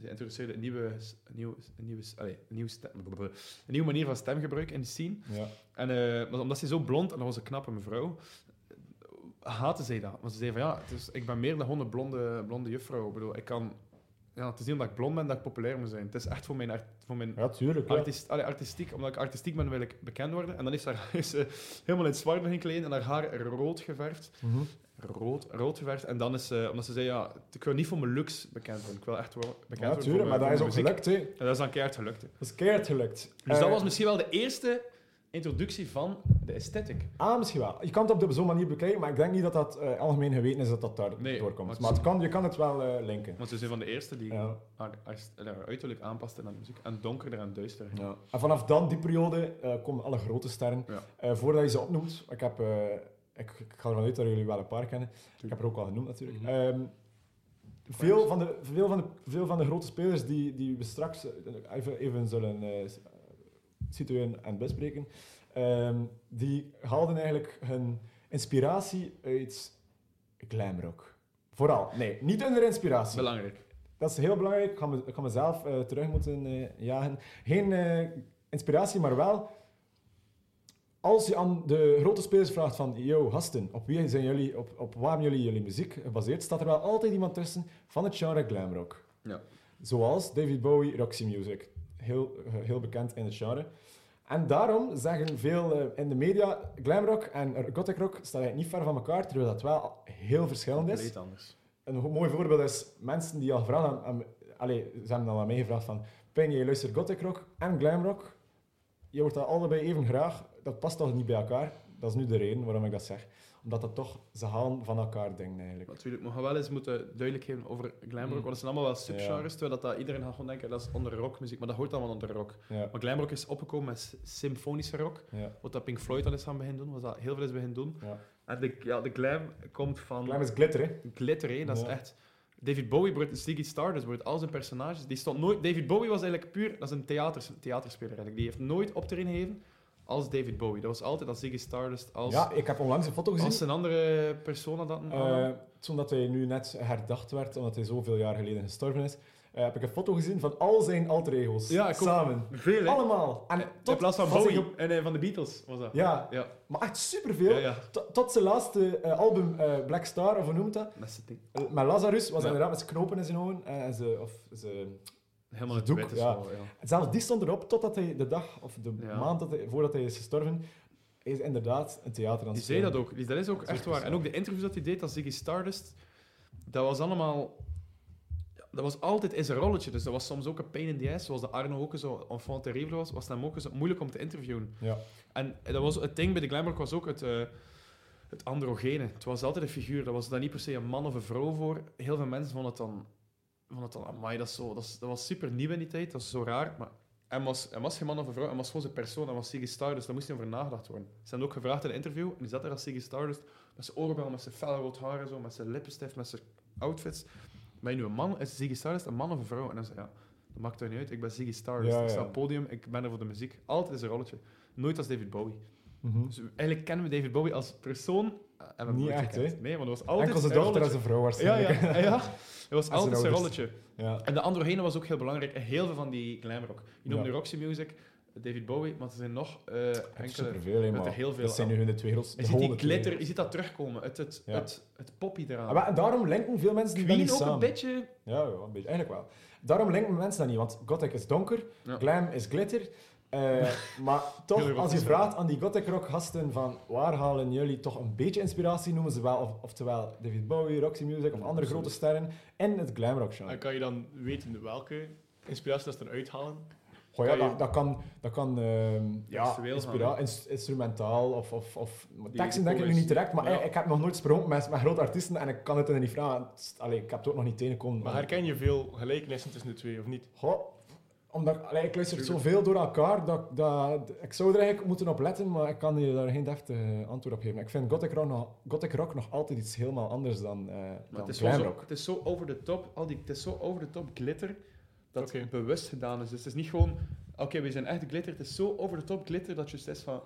Speaker 3: ze introduceerde een nieuwe, s- een nieuwe, een nieuwe, s- allee, een nieuwe, stem, blablabla. een nieuwe manier van stemgebruik in de scene.
Speaker 2: Ja.
Speaker 3: En eh, maar omdat zij zo blond en dat was een knappe mevrouw, haatte zij dat. Want ze zei van ja, het is, ik ben meer dan gewoon een blonde, blonde juffrouw. Ik bedoel, ik kan... Ja, het is niet omdat ik blond ben dat ik populair moet zijn. Het is echt voor mijn, art- voor mijn
Speaker 2: ja, tuurlijk. ja.
Speaker 3: Artist, allee, artistiek, omdat ik artistiek ben, wil ik bekend worden. En dan is haar [laughs] is ze helemaal in het zwart begin kleden en haar haar rood geverfd.
Speaker 2: Mhm.
Speaker 3: Rood, rood geverfd. En dan is ze, omdat ze zei, ja, ik wil niet voor mijn looks bekend worden. Ik wil echt wel bekend
Speaker 2: Ja,
Speaker 3: worden.
Speaker 2: tuurlijk,
Speaker 3: voor
Speaker 2: maar dat
Speaker 3: mijn-
Speaker 2: is
Speaker 3: voor
Speaker 2: ook Eh,
Speaker 3: mijn muziek.
Speaker 2: gelukt, hè.
Speaker 3: En dat is dan keihard gelukt. hè.
Speaker 2: Dat is keihard gelukt.
Speaker 3: Dus dat
Speaker 2: Eh,
Speaker 3: was misschien wel de eerste introductie van de aesthetic.
Speaker 2: Ah, misschien wel. Je kan het op de- zo'n manier bekijken, maar ik denk niet dat dat eh, algemeen geweten is dat dat daar
Speaker 3: Nee,
Speaker 2: doorkomt.
Speaker 3: maar
Speaker 2: Maar,
Speaker 3: het
Speaker 2: het kan, je kan het wel eh, linken.
Speaker 3: Want ze is een van de eerste die
Speaker 2: Ja.
Speaker 3: haar, haar- haar uiterlijk aanpaste aan de muziek. En donkerder en duisterder.
Speaker 2: Ja. En vanaf dan, die periode, eh, komen alle grote sterren.
Speaker 3: Ja.
Speaker 2: Eh, voordat je ze opnoemt, ik, heb, eh, ik, ik ga ervan uit dat jullie wel een paar kennen. Ik heb
Speaker 3: Tuurlijk.
Speaker 2: er ook al genoemd natuurlijk.
Speaker 1: Mhm.
Speaker 2: Ehm, veel, van de, veel, van de, veel van de grote spelers die, die we straks eh, even, even zullen eh, s- situeren en bespreken, ehm, die haalden eigenlijk hun inspiratie uit glamrock. Vooral, nee, niet hun inspiratie.
Speaker 3: Belangrijk.
Speaker 2: Dat is heel belangrijk. Ik ga, me- ik ga mezelf eh, terug moeten eh, jagen. Geen eh, inspiratie, maar wel. Als je aan de grote spelers vraagt van, yo, gasten, op wie zijn jullie, op, op waarom jullie jullie muziek gebaseerd, staat er wel altijd iemand tussen van het genre glamrock.
Speaker 3: Ja.
Speaker 2: Zoals David Bowie, Roxy Music. Heel, eh, heel bekend in het genre. En daarom zeggen veel eh, in de media, glamrock en gothic rock staan eigenlijk niet ver van elkaar, terwijl dat wel heel verschillend is
Speaker 3: Compleet anders.
Speaker 2: een ho- mooi voorbeeld is mensen die al vragen aan, aan- allee, ze hebben dan aan mij gevraagd van Pijn, jij luistert gothic rock en glamrock. Je wordt dat allebei even graag. Dat past toch niet bij elkaar? Dat is nu de reden waarom ik dat zeg. Omdat dat toch, ze halen van elkaar dingen eigenlijk.
Speaker 3: Maar natuurlijk, we gaan wel eens moeten duidelijk geven over
Speaker 2: Hmm.
Speaker 3: glamrock,
Speaker 1: Mm.
Speaker 3: want dat zijn allemaal wel subgenres, terwijl dat, dat iedereen gaat gewoon denken, dat is onder rockmuziek, maar dat hoort allemaal onder rock.
Speaker 2: Ja,
Speaker 3: Maar glamrock is opgekomen met s- symfonische rock,
Speaker 2: ja.
Speaker 3: wat dat Pink Floyd al is gaan beginnen doen, wat dat heel veel is beginnen doen.
Speaker 2: Ja.
Speaker 3: En de, ja, de glam komt van
Speaker 2: Glam is glitter, hè?
Speaker 3: glitter, hè, dat is
Speaker 2: Ja.
Speaker 3: echt... David Bowie wordt Ziggy Stardust, wordt al zijn personages, die stond nooit... David Bowie was eigenlijk puur, dat is een theaters, theaterspeler eigenlijk, die heeft nooit optreden gegeven als David Bowie. Dat was altijd als Ziggy Stardust, als,
Speaker 2: Ja, ik heb onlangs een foto gezien.
Speaker 3: als een andere persona dat...
Speaker 2: Eh, toen dat hij nu net herdacht werd, omdat hij zoveel jaar geleden gestorven is, eh, heb ik een foto gezien van al zijn alter ego's.
Speaker 3: Ja, ik ook.
Speaker 2: Samen.
Speaker 3: Veel, hè?
Speaker 2: Allemaal. En
Speaker 3: In
Speaker 2: tot
Speaker 3: plaats van
Speaker 2: zijn
Speaker 3: Bowie
Speaker 2: ge-
Speaker 3: en eh, van de Beatles was dat.
Speaker 2: Ja,
Speaker 3: Ja,
Speaker 2: maar echt superveel.
Speaker 3: ja. ja.
Speaker 2: T- Tot zijn laatste eh, album, eh, Black Star, of hoe noemt dat?
Speaker 3: Dat is het ding.
Speaker 2: Eh, Met Lazarus was
Speaker 3: Ja.
Speaker 2: inderdaad met zijn knopen in zijn ogen. eh, en ze, of ze,
Speaker 3: Helemaal
Speaker 2: Het
Speaker 3: het doek.
Speaker 2: doek,
Speaker 3: Wit is
Speaker 2: ja.
Speaker 3: wel, ja.
Speaker 2: zelfs die stond erop totdat hij de dag of de
Speaker 3: Ja.
Speaker 2: maand dat hij, voordat hij is gestorven Hij is inderdaad een theater aan
Speaker 3: Die
Speaker 2: het
Speaker 3: zei dat
Speaker 2: spelen.
Speaker 3: ook. Die- Dat is ook
Speaker 2: Dat is
Speaker 3: echt
Speaker 2: ook
Speaker 3: waar.
Speaker 2: zo.
Speaker 3: En ook de interviews dat hij deed als Ziggy Stardust, dat was allemaal... ja, Dat was altijd in zijn rolletje. Dus dat was soms ook een pain in the ass. Zoals de Arno ook zo enfant terrible was, was het hem ook zo moeilijk om te interviewen.
Speaker 2: Ja.
Speaker 3: En dat was, het ding bij de Glamrock was ook het, eh, het androgene. Het was altijd een figuur. Dat was dan niet per se een man of een vrouw voor. Heel veel mensen vonden het dan... Vonden het dan amai, dat, is zo, dat, is- dat was super nieuw in die tijd. Dat is zo raar. Maar hij was, hij was geen man of een vrouw. Hij was gewoon zijn persoon. Hij was Ziggy Stardust. Daar moest hij over nagedacht worden. Ze hebben ook gevraagd in een interview. En die zat er als Ziggy Stardust. Met zijn oorbel, met zijn fel rood haar en zo. Met zijn lippenstift, met zijn outfits. Ben je nu een man? Is Ziggy Stardust een man of een vrouw? En hij zei, ja, dat maakt toch niet uit. Ik ben Ziggy Stardust.
Speaker 2: Ja,
Speaker 3: Ik sta
Speaker 2: ja.
Speaker 3: op het podium. Ik ben er voor de muziek. Altijd is een rolletje. Nooit als David Bowie.
Speaker 2: Mhm.
Speaker 3: Dus eigenlijk kennen we David Bowie als persoon. eh, en we hebben
Speaker 2: Niet
Speaker 3: hem nooit
Speaker 2: echt,
Speaker 3: gekend. Nee, want dat was altijd
Speaker 2: Enkel zijn
Speaker 3: zijn
Speaker 2: dochter en
Speaker 3: rolletje.
Speaker 2: zijn vrouw
Speaker 3: Ja,
Speaker 2: waarschijnlijk.
Speaker 3: ja, ja. [laughs] Het was
Speaker 2: zijn
Speaker 3: altijd zijn
Speaker 2: ouders.
Speaker 3: rolletje.
Speaker 2: [laughs] ja.
Speaker 3: En de androgene was ook heel belangrijk. En heel veel van die glamrock. Je noemt
Speaker 2: Ja.
Speaker 3: nu Roxy Music, David Bowie, maar er zijn nog eh,
Speaker 2: Er is
Speaker 3: enkele...
Speaker 2: superveel, hè,
Speaker 3: met
Speaker 2: maar
Speaker 3: er heel veel
Speaker 2: dat zijn nu hun de twee grootste.
Speaker 3: Je ziet die
Speaker 2: honderd twee.
Speaker 3: glitter, je ziet dat terugkomen. Het, het,
Speaker 2: Ja.
Speaker 3: het, het poppy eraan.
Speaker 2: Ah, maar En daarom linken veel mensen die dat
Speaker 3: Queen
Speaker 2: niet
Speaker 3: ook
Speaker 2: samen.
Speaker 3: een beetje...
Speaker 2: Ja, ja, een beetje. Eigenlijk wel. Daarom linken mensen dat niet, want gothic is donker,
Speaker 3: Ja.
Speaker 2: glam is glitter.
Speaker 1: [laughs]
Speaker 2: eh, maar toch, als
Speaker 3: Heel
Speaker 2: je
Speaker 3: erotisch,
Speaker 2: vraagt aan die gothic rock gasten van waar halen jullie toch een beetje inspiratie, noemen ze wel, of, oftewel David Bowie, Roxy Music of
Speaker 3: Ja,
Speaker 2: andere grote
Speaker 1: absoluut.
Speaker 2: sterren in het glam rock genre.
Speaker 1: En kan je dan weten welke inspiratie dat ze eruit halen?
Speaker 2: Goh, ja,
Speaker 1: kan je-
Speaker 2: dat, dat kan, dat kan ehm, ja,
Speaker 3: Textueel
Speaker 2: inspira-
Speaker 3: gaan,
Speaker 2: ins- instrumentaal of, of, of maar
Speaker 3: Die-
Speaker 2: teksten denk ik
Speaker 3: die
Speaker 2: nu
Speaker 3: covers.
Speaker 2: niet direct, maar
Speaker 1: Ja.
Speaker 2: ik, ik heb nog nooit gesproken met, met grote artiesten en ik kan het hen niet vragen. Het is- Allee, ik heb het ook nog niet tegengekomen.
Speaker 1: Maar herken je veel gelijkenissen tussen de twee, of niet?
Speaker 2: Goh, omdat, allee, ik luister
Speaker 3: Tuurlijk.
Speaker 2: zoveel door elkaar dat, ik- dat ik zou er eigenlijk moeten op letten, maar ik kan je daar geen deftig eh, antwoord op geven. Ik vind gothic rock nog, gothic rock nog altijd iets helemaal anders dan, eh
Speaker 3: Maar
Speaker 2: dan
Speaker 3: het, is
Speaker 2: glam
Speaker 3: gewoon zo,
Speaker 2: rock.
Speaker 3: het is zo over de top, al die, het is zo over de top glitter, dat
Speaker 1: Oké.
Speaker 3: het bewust gedaan is. Dus het is niet gewoon, oké, we zijn echt glitter. Het is zo over de top glitter dat je steeds van...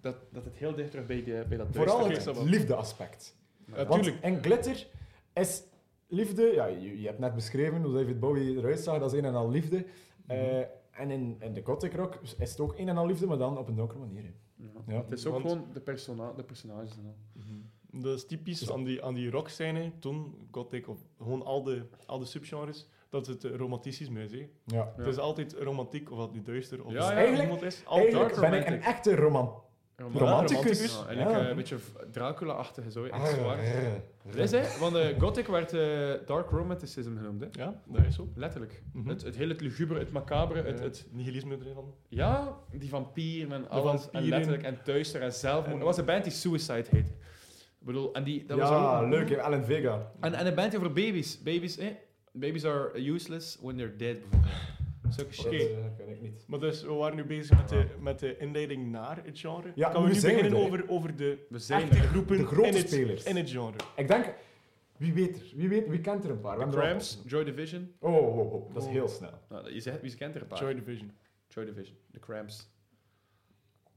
Speaker 3: Dat, dat het heel dicht terug bij, die, bij dat
Speaker 2: Mhm. Vooral
Speaker 1: oké,
Speaker 2: het
Speaker 1: dat wel.
Speaker 2: liefdeaspect.
Speaker 1: Natuurlijk.
Speaker 2: Want, en glitter is liefde. Ja, je, je hebt net beschreven hoe David Bowie eruit zag, dat is een en al liefde.
Speaker 3: Mhm.
Speaker 2: Eh, en in, in de gothic rock is het ook een en al liefde, maar dan op een donkere manier. hè.
Speaker 3: Ja.
Speaker 2: Ja.
Speaker 3: Het is ook
Speaker 1: Want-
Speaker 3: gewoon de, persona de personages en al.
Speaker 2: Mhm.
Speaker 1: Dat is typisch
Speaker 2: Dus-
Speaker 1: aan die, aan die rockscène, toen, gothic, of gewoon al de, al de subgenres, dat het eh, romanticisme is. hè.
Speaker 2: Ja.
Speaker 3: Ja.
Speaker 1: Het is altijd romantiek, of dat nu duister, of
Speaker 3: Ja,
Speaker 1: sterk
Speaker 3: ja.
Speaker 2: Eigenlijk-
Speaker 1: iemand is. Al
Speaker 2: Eigenlijk
Speaker 1: dark
Speaker 2: ben ik een
Speaker 1: romantic.
Speaker 2: echte roman. Romanticus.
Speaker 3: Ja, en ik,
Speaker 2: Ja. Ah,
Speaker 3: eh, een beetje v- Dracula-achtig zo. Echt zwaar.
Speaker 2: Arr,
Speaker 3: Dat is hè, want eh, Gothic werd eh, Dark Romanticism genoemd. Hè.
Speaker 1: Ja, dat is zo.
Speaker 3: Letterlijk.
Speaker 1: Mhm.
Speaker 3: Het, het hele het lugubre, het macabre, het,
Speaker 1: Eh,
Speaker 3: het,
Speaker 1: nihilisme ervan.
Speaker 3: ja, die vampieren en alles. En
Speaker 1: vampieren.
Speaker 3: letterlijk en duister en zelfmoord.
Speaker 1: En-
Speaker 3: Er was een band die Suicide heette. Ik bedoel, en die, dat was
Speaker 2: ja,
Speaker 3: ook-
Speaker 2: leuk, hè, Alan Vega.
Speaker 3: En, en een band over baby's. Baby's, eh? Babies are useless when they're dead, bijvoorbeeld. Zulke shit.
Speaker 2: Dat
Speaker 1: Oké.
Speaker 2: eh, ken ik niet.
Speaker 1: Maar dus, we waren nu bezig met de, met de inleiding naar het genre.
Speaker 2: Ja,
Speaker 1: kan
Speaker 2: nu
Speaker 1: we nu
Speaker 2: zijn we
Speaker 1: beginnen
Speaker 2: er, hè.
Speaker 1: over, over de
Speaker 3: We zijn
Speaker 1: echte
Speaker 3: er.
Speaker 1: groepen
Speaker 2: De grote
Speaker 1: in, het,
Speaker 2: spelers.
Speaker 1: in het genre?
Speaker 2: Ik denk, wie weet er? Wie, weet, wie kent er een paar? We
Speaker 3: De
Speaker 2: hebben er al-
Speaker 3: Cramps, Joy Division.
Speaker 2: Oh, oh, oh, oh, dat is
Speaker 1: Oh.
Speaker 2: heel snel.
Speaker 3: Nou, je zegt, wie kent er een paar?
Speaker 1: Joy Division.
Speaker 3: Joy Division, de Cramps.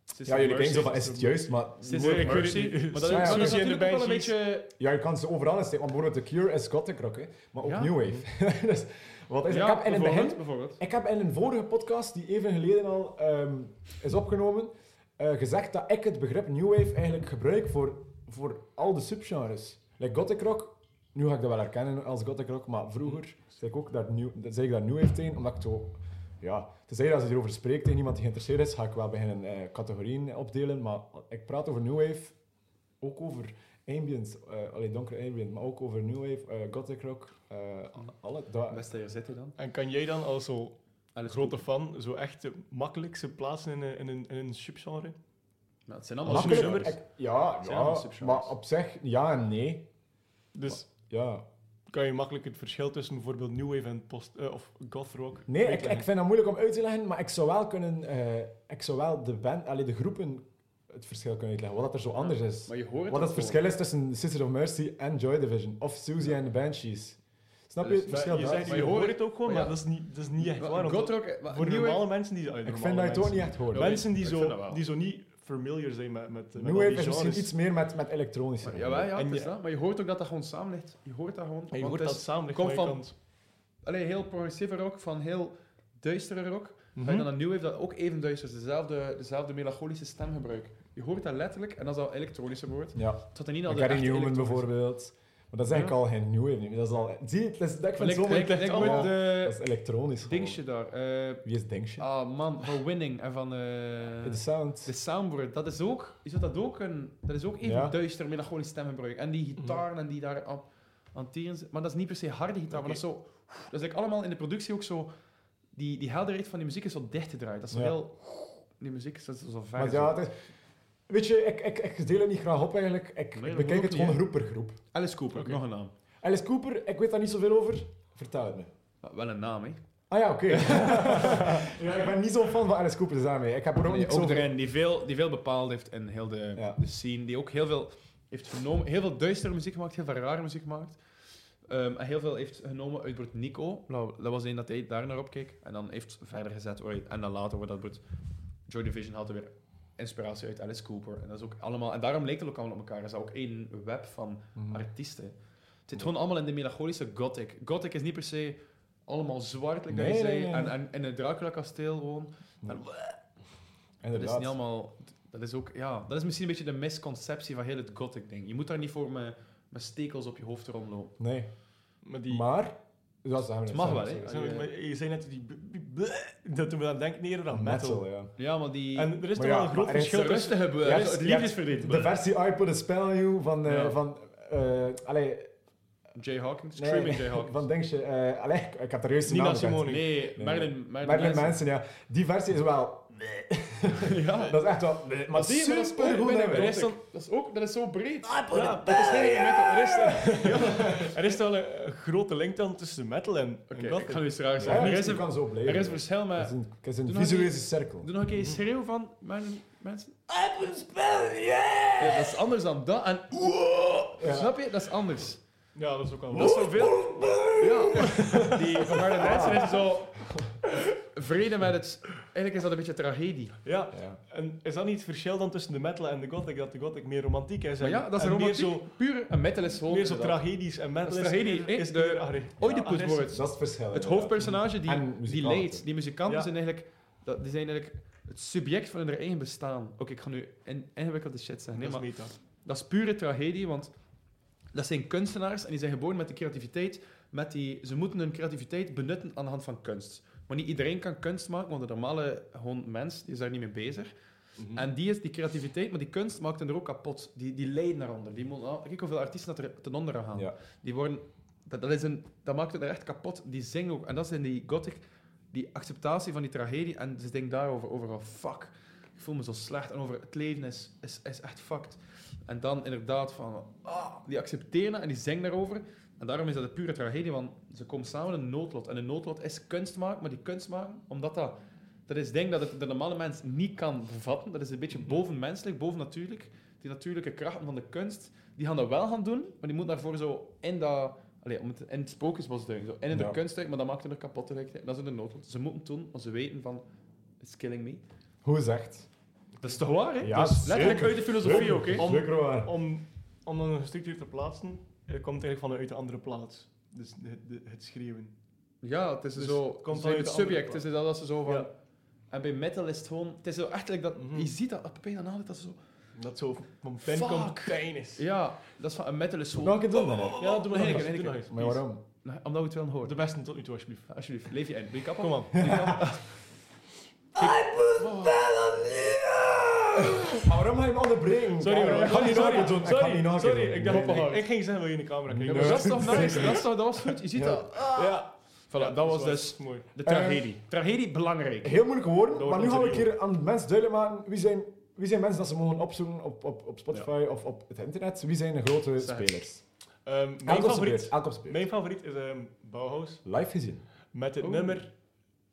Speaker 3: Sister
Speaker 2: Ja, jullie
Speaker 3: Mercy.
Speaker 2: denken zo van, is het juist? Maar
Speaker 3: Sister
Speaker 1: Nee, ik weet
Speaker 3: Mercy.
Speaker 1: het niet.
Speaker 3: Maar dat,
Speaker 2: Ja,
Speaker 3: is-
Speaker 2: ja,
Speaker 3: dat is
Speaker 1: Suzy and the
Speaker 3: natuurlijk ook wel een
Speaker 1: Banshees.
Speaker 3: beetje...
Speaker 2: Ja, je kan ze overal in steken. Want bijvoorbeeld The Cure is gothic rock, hè. maar ook
Speaker 3: Ja.
Speaker 2: New Wave. [laughs] dus, wat is,
Speaker 3: Ja,
Speaker 2: ik, heb in het
Speaker 3: bijvoorbeeld,
Speaker 2: begin,
Speaker 3: Bijvoorbeeld.
Speaker 2: ik heb in een vorige podcast, die even geleden al ehm, is opgenomen, eh, gezegd dat ik het begrip New Wave eigenlijk gebruik voor, voor al de subgenres. Like gothic rock, nu ga ik dat wel herkennen als gothic rock, maar vroeger zei ik ook daar new, zei ik daar New Wave tegen, omdat ik zo... Ja, te zeggen als je erover spreekt tegen iemand die geïnteresseerd is, ga ik wel beginnen eh, categorieën opdelen, maar ik praat over New Wave ook over ambient, eh alleen donkere ambient, maar ook over new wave, eh, gothic rock, eh, a- alle. da-
Speaker 3: Beste hier zitten dan.
Speaker 1: En kan jij dan als zo
Speaker 3: Alles
Speaker 1: grote fan zo echt de makkelijkste plaatsen in een, in een, in een subgenre?
Speaker 3: Nou, het zijn allemaal
Speaker 1: Makkelijk,
Speaker 2: Makkelijk,
Speaker 3: subgenres.
Speaker 2: ik- ja,
Speaker 3: Zijn allemaal
Speaker 2: ja,
Speaker 3: subgenres.
Speaker 2: maar op zich ja en nee.
Speaker 1: Dus
Speaker 2: Ja.
Speaker 1: kan je makkelijk het verschil tussen bijvoorbeeld New Wave en post, eh, of goth rock?
Speaker 2: Nee, ik,
Speaker 1: uitleggen?
Speaker 2: ik vind dat moeilijk om uit te leggen, maar ik zou wel kunnen, eh, ik zou wel de band, allee, de groepen het verschil kunnen uitleggen, wat dat er zo anders is.
Speaker 3: Maar je hoort het
Speaker 2: Wat het
Speaker 3: ook
Speaker 2: verschil is tussen Sisters of Mercy en Joy Division, of Susie en the Banshees. Snap je
Speaker 3: Dus-
Speaker 2: het verschil
Speaker 1: je,
Speaker 2: daar?
Speaker 1: zegt,
Speaker 3: Maar
Speaker 1: je
Speaker 3: je
Speaker 1: hoort
Speaker 3: hoort
Speaker 1: het ook gewoon,
Speaker 3: maar
Speaker 1: maar
Speaker 3: ja.
Speaker 1: dat is niet, dat is niet echt
Speaker 3: Maar
Speaker 1: waar. want
Speaker 3: Gotrock, maar
Speaker 1: voor
Speaker 3: eh, nieuwe-
Speaker 1: normale mensen die...
Speaker 2: Ik vind dat je het ook niet echt hoort.
Speaker 3: Ja,
Speaker 1: Mensen die
Speaker 3: ik vind dat
Speaker 1: zo,
Speaker 3: wel.
Speaker 1: die zo niet familiar zijn met, met, met
Speaker 2: New
Speaker 1: al
Speaker 2: Wave
Speaker 1: die
Speaker 2: is misschien
Speaker 1: genres.
Speaker 2: iets meer met, met elektronische.
Speaker 3: Maar, jawel, ja,
Speaker 1: En
Speaker 3: het is
Speaker 1: je-
Speaker 3: dat. Maar je hoort ook dat dat gewoon samen ligt. Je hoort dat gewoon.
Speaker 1: En je
Speaker 3: want
Speaker 1: hoort
Speaker 3: het
Speaker 1: dat
Speaker 3: is-
Speaker 1: samen.
Speaker 3: komt
Speaker 1: Komt
Speaker 3: van- allee, heel progressieve rock, van heel duistere rock. Ga je
Speaker 1: Mhm.
Speaker 3: dan een nieuw heeft dat ook even duister is. Dezelfde, dezelfde melancholische stemgebruik. Je hoort dat letterlijk, en dat is al elektronische woord.
Speaker 2: Ja.
Speaker 3: Tot en niet al
Speaker 2: Een
Speaker 3: de
Speaker 2: Gary
Speaker 3: echte
Speaker 2: Newman
Speaker 3: elektronische-
Speaker 2: bijvoorbeeld. Maar dat is eigenlijk al geen new wave niet meer. Dat is al... Zie je, dat is, dat ik vind
Speaker 3: Lijkt-
Speaker 2: het zo moeilijk.
Speaker 3: lijkt- lijkt
Speaker 2: allemaal-
Speaker 3: met, eh,
Speaker 2: Dat is elektronisch. gewoon.
Speaker 3: Dingetje daar. eh,
Speaker 2: Wie is Dingshit?
Speaker 3: ah, man, van Winning en van... eh,
Speaker 2: De sound.
Speaker 3: de soundboard, dat is ook, is dat, dat ook een, dat is ook even
Speaker 2: Ja. Mhm.
Speaker 3: duister melancholisch stemgebruik. En die gitaren en die daar aan, aan het teren zijn. Maar dat is niet per se harde gitaar, maar dat is zo, dat is eigenlijk allemaal in de productie ook zo, die, die helderheid van die muziek is zo dicht gedraaid. Dat is zo
Speaker 2: Ja.
Speaker 3: heel, die muziek is dat is zo ver.
Speaker 2: Maar
Speaker 3: zo.
Speaker 2: ja, het is- weet je, ik, ik, ik deel het niet graag op eigenlijk. Ik
Speaker 3: Nee, dat moet
Speaker 2: bekijk
Speaker 3: ook
Speaker 2: het
Speaker 3: niet,
Speaker 2: gewoon
Speaker 3: hè.
Speaker 2: groep per groep.
Speaker 3: Alice Cooper,
Speaker 1: Oké.
Speaker 3: nog een naam.
Speaker 2: Alice Cooper, ik weet daar niet zoveel over. Vertel het me.
Speaker 3: Maar wel een naam, hè.
Speaker 2: Ah
Speaker 3: [laughs]
Speaker 2: ja, oké. [laughs] ja, ik ben niet zo'n fan van Alice Cooper, dus daarmee. Ik heb er ook
Speaker 3: Nee,
Speaker 2: niet
Speaker 3: ook
Speaker 2: zoveel...
Speaker 3: erin, die veel, die veel bepaald heeft in heel de,
Speaker 2: Ja.
Speaker 3: de scene. Die ook heel veel heeft genomen. Heel veel duistere muziek gemaakt, heel veel rare muziek gemaakt. Ehm, en heel veel heeft genomen uit Bert Nico. Nou, dat was één dat hij daar naar opkeek. En dan heeft verder gezet. waar hij- En dan later wordt dat Bert Joy Division had er weer inspiratie uit Alice Cooper. En dat is ook allemaal... En daarom leek het ook allemaal op elkaar. Er is ook één web van
Speaker 2: Mhm.
Speaker 3: artiesten. Het zit gewoon allemaal in de melancholische gothic. Gothic is niet per se allemaal zwart, like dat
Speaker 2: Nee,
Speaker 3: je zei.
Speaker 2: nee, nee,
Speaker 3: En,
Speaker 2: nee.
Speaker 3: en in het Dracula-kasteel gewoon.
Speaker 2: Nee.
Speaker 3: En- dat is
Speaker 2: Inderdaad.
Speaker 3: niet allemaal. Dat is ook, ja, dat is misschien een beetje de misconceptie van heel het gothic ding. Je moet daar niet voor met, met stekels op je hoofd rondlopen.
Speaker 2: Nee,
Speaker 1: Maar die...
Speaker 2: maar... Dat zijn we
Speaker 3: Het
Speaker 2: net,
Speaker 3: mag
Speaker 2: zijn we
Speaker 1: zijn
Speaker 2: net, zijn
Speaker 3: wel, hè.
Speaker 1: we-
Speaker 3: eh,
Speaker 1: maar je zei net die... b- b- b- Dat doen we dan denken eerder
Speaker 2: we.
Speaker 1: aan metal.
Speaker 2: ja.
Speaker 3: Ja, maar die.
Speaker 1: En dus- er is
Speaker 2: Maar
Speaker 1: toch wel
Speaker 2: ja,
Speaker 1: een groot
Speaker 2: maar er is
Speaker 1: verschil tussen...
Speaker 3: rustig hebben.
Speaker 2: Ja,
Speaker 3: het
Speaker 2: het-
Speaker 3: liefdesverdriet.
Speaker 2: De versie I Put A Spell on You van... eh,
Speaker 3: Ja.
Speaker 2: van eh allee,
Speaker 3: Jay Hawkins.
Speaker 2: nee,
Speaker 3: Screaming Jay Hawkins.
Speaker 2: van Dingshit. eh allee, ik, ik heb daar juist de
Speaker 1: Nina
Speaker 2: naam gezegd.
Speaker 1: Simone.
Speaker 3: nee,
Speaker 2: nee.
Speaker 3: Marilyn, Marilyn
Speaker 2: Marilyn
Speaker 3: Manson.
Speaker 2: Manson, ja. Die versie is wel...
Speaker 3: [laughs] ja.
Speaker 2: Dat is echt wel... Maar,
Speaker 3: Maar die, maar dat is
Speaker 2: super
Speaker 3: ook
Speaker 2: goed
Speaker 3: binnen- er Ah,
Speaker 2: nummer.
Speaker 3: is dan- dat is ook, dat is zo breed.
Speaker 2: Ah.
Speaker 1: Ja, dat is niet metal. Er is, er is wel een, een grote link dan tussen metal en, en
Speaker 3: Oké,
Speaker 1: gothic.
Speaker 3: ik ga nu iets raar
Speaker 2: Ja,
Speaker 3: zeggen. Er is
Speaker 2: dat
Speaker 3: een-
Speaker 2: kan zo blijven.
Speaker 3: er is een verschil
Speaker 2: Het
Speaker 3: met.
Speaker 2: is een, het is een
Speaker 3: Doe nog
Speaker 2: visuele
Speaker 3: die-
Speaker 2: cirkel.
Speaker 3: Doe nog een keer een schreeuw van Marilyn Manson. Ja, dat is anders dan dat. En
Speaker 2: Ja.
Speaker 3: Snap je? Dat is anders.
Speaker 1: Ja, dat is ook wel
Speaker 3: Dat is zoveel. Ja. Die van Marilyn Manson is zo. Vrede met het. Eigenlijk is dat een beetje tragedie.
Speaker 1: Ja,
Speaker 2: Ja.
Speaker 1: en is dat niet het verschil dan tussen de metal en de gothic? Dat de gothic meer romantiek is en,
Speaker 3: Maar ja, dat is
Speaker 1: en
Speaker 3: romantiek.
Speaker 1: meer zo,
Speaker 3: Puur een metal is gewoon.
Speaker 1: meer zo
Speaker 3: inderdaad.
Speaker 1: tragedisch. En metal
Speaker 3: Dat is tragedie, hè?
Speaker 1: is ah,
Speaker 3: De-
Speaker 1: meer agre-
Speaker 3: Oedipus
Speaker 1: Ja,
Speaker 3: wordt.
Speaker 2: Dat is het verschil.
Speaker 3: Het
Speaker 2: inderdaad.
Speaker 3: hoofdpersonage die,
Speaker 2: En
Speaker 3: die
Speaker 2: muzikanten.
Speaker 3: leed, die muzikanten
Speaker 1: Ja.
Speaker 3: zijn eigenlijk. dat- Die zijn eigenlijk het subject van hun eigen bestaan. Oké, ik ga nu in- ingewikkelde shit zeggen.
Speaker 1: Dat
Speaker 3: Nee,
Speaker 1: is
Speaker 3: maar
Speaker 1: meta.
Speaker 3: Dat is pure tragedie, want dat zijn kunstenaars en die zijn geboren met de creativiteit. Met die, ze moeten hun creativiteit benutten aan de hand van kunst. Maar niet iedereen kan kunst maken, want de normale gewoon mens die is daar niet mee bezig.
Speaker 1: Mhm.
Speaker 3: En die is die creativiteit, maar die kunst maakt hen er ook kapot. Die, die lijden daaronder. Die, moeten- ah, kijk hoeveel artiesten dat er ten onder gaan.
Speaker 2: Ja.
Speaker 3: Die worden, dat, dat, is een, dat maakt het er echt kapot. Die zingen ook. En dat is in die gothic, die acceptatie van die tragedie. En ze denken daarover, overal, fuck, ik voel me zo slecht. En over het leven is, is, is echt fucked. En dan inderdaad van, ah, die accepteren dat en die zingen daarover. En daarom is dat een pure tragedie, want ze komen samen in een noodlot. En een noodlot is kunst maken, maar die kunst maken, omdat dat... Dat is denk dat het de normale mens niet kan bevatten. Dat is een beetje bovenmenselijk, bovennatuurlijk. Die natuurlijke krachten van de kunst, die gaan dat wel gaan doen, maar die moet daarvoor zo in dat... Allee, om het, in het sprookjesbos te doen, zo in de
Speaker 2: Ja.
Speaker 3: kunst maar dat maakt het er kapot tegelijkertijd. Dat is in de noodlot. Ze moeten het doen, want ze weten van, it's killing me.
Speaker 2: Hoe is echt?
Speaker 3: Dat is toch waar, hè?
Speaker 2: Ja,
Speaker 3: dat is letterlijk
Speaker 2: zeker.
Speaker 3: uit de filosofie ook, hè?
Speaker 1: Om-
Speaker 2: Zeker waar.
Speaker 1: Om, om dan een structuur te plaatsen, eh, komt het eigenlijk vanuit een andere plaats. Dus de- de- het schreeuwen.
Speaker 3: Ja, het is
Speaker 1: Dus
Speaker 3: zo.
Speaker 1: het
Speaker 3: Het,
Speaker 1: komt
Speaker 3: is
Speaker 1: uit
Speaker 3: het
Speaker 1: de andere
Speaker 3: subject. Het is
Speaker 1: plaat.
Speaker 3: dat, dat ze zo van.
Speaker 1: Ja.
Speaker 3: En bij metal is het gewoon. Het is zo echt dat.
Speaker 1: Mhm.
Speaker 3: Je ziet dat op een en ander dat ze zo.
Speaker 1: Dat zo van pen
Speaker 3: Fuck.
Speaker 1: komt pijn is.
Speaker 3: Ja, dat is van. Een metal is
Speaker 2: Welke
Speaker 3: gewoon.
Speaker 2: doen dan? hè?
Speaker 1: Ja, doe maar nog
Speaker 3: Nee,
Speaker 1: eens,
Speaker 3: nee,
Speaker 1: doe
Speaker 3: nee.
Speaker 1: nog eens,
Speaker 2: Maar
Speaker 1: please.
Speaker 2: waarom?
Speaker 3: Nee, Omdat we het willen horen.
Speaker 1: De beste tot nu toe, alsjeblieft.
Speaker 3: Alsjeblieft, leef je in. Doe je kappen?
Speaker 1: Kom aan.
Speaker 2: Maar waarom ga je me onderbreken?
Speaker 1: Sorry,
Speaker 2: Karel?
Speaker 1: bro.
Speaker 2: Ik ga niet
Speaker 1: sorry,
Speaker 2: naken doen. Ik ga niet
Speaker 1: sorry,
Speaker 2: naken
Speaker 1: sorry.
Speaker 2: doen.
Speaker 1: Ik dacht
Speaker 2: Nee, nee.
Speaker 1: Ik ging zeggen wil je in de camera
Speaker 3: Ja,
Speaker 1: kijken.
Speaker 3: maar
Speaker 2: Nee.
Speaker 3: dat is toch nice? Dat, is toch, dat was goed. Je ziet
Speaker 2: Ja.
Speaker 3: dat.
Speaker 1: Ja.
Speaker 3: Voilà, dat was dus
Speaker 1: mooi.
Speaker 3: de
Speaker 2: Eh,
Speaker 3: tragedie. tragedie belangrijk.
Speaker 2: Heel moeilijk woorden,
Speaker 1: Door
Speaker 2: maar nu
Speaker 1: onze
Speaker 2: gaan we een
Speaker 1: riemen.
Speaker 2: keer aan de mensen duidelijk maken wie zijn, wie zijn mensen dat ze mogen opzoeken op, op, op Spotify of op het internet. Wie zijn de grote
Speaker 3: Zeg.
Speaker 2: spelers?
Speaker 1: Ehm, mijn,
Speaker 2: Elk op zijn
Speaker 1: favoriet,
Speaker 2: beurt, elk op zijn beurt.
Speaker 1: mijn favoriet is ehm Bauhaus
Speaker 2: Live gezien.
Speaker 1: met het
Speaker 3: Oeh.
Speaker 1: nummer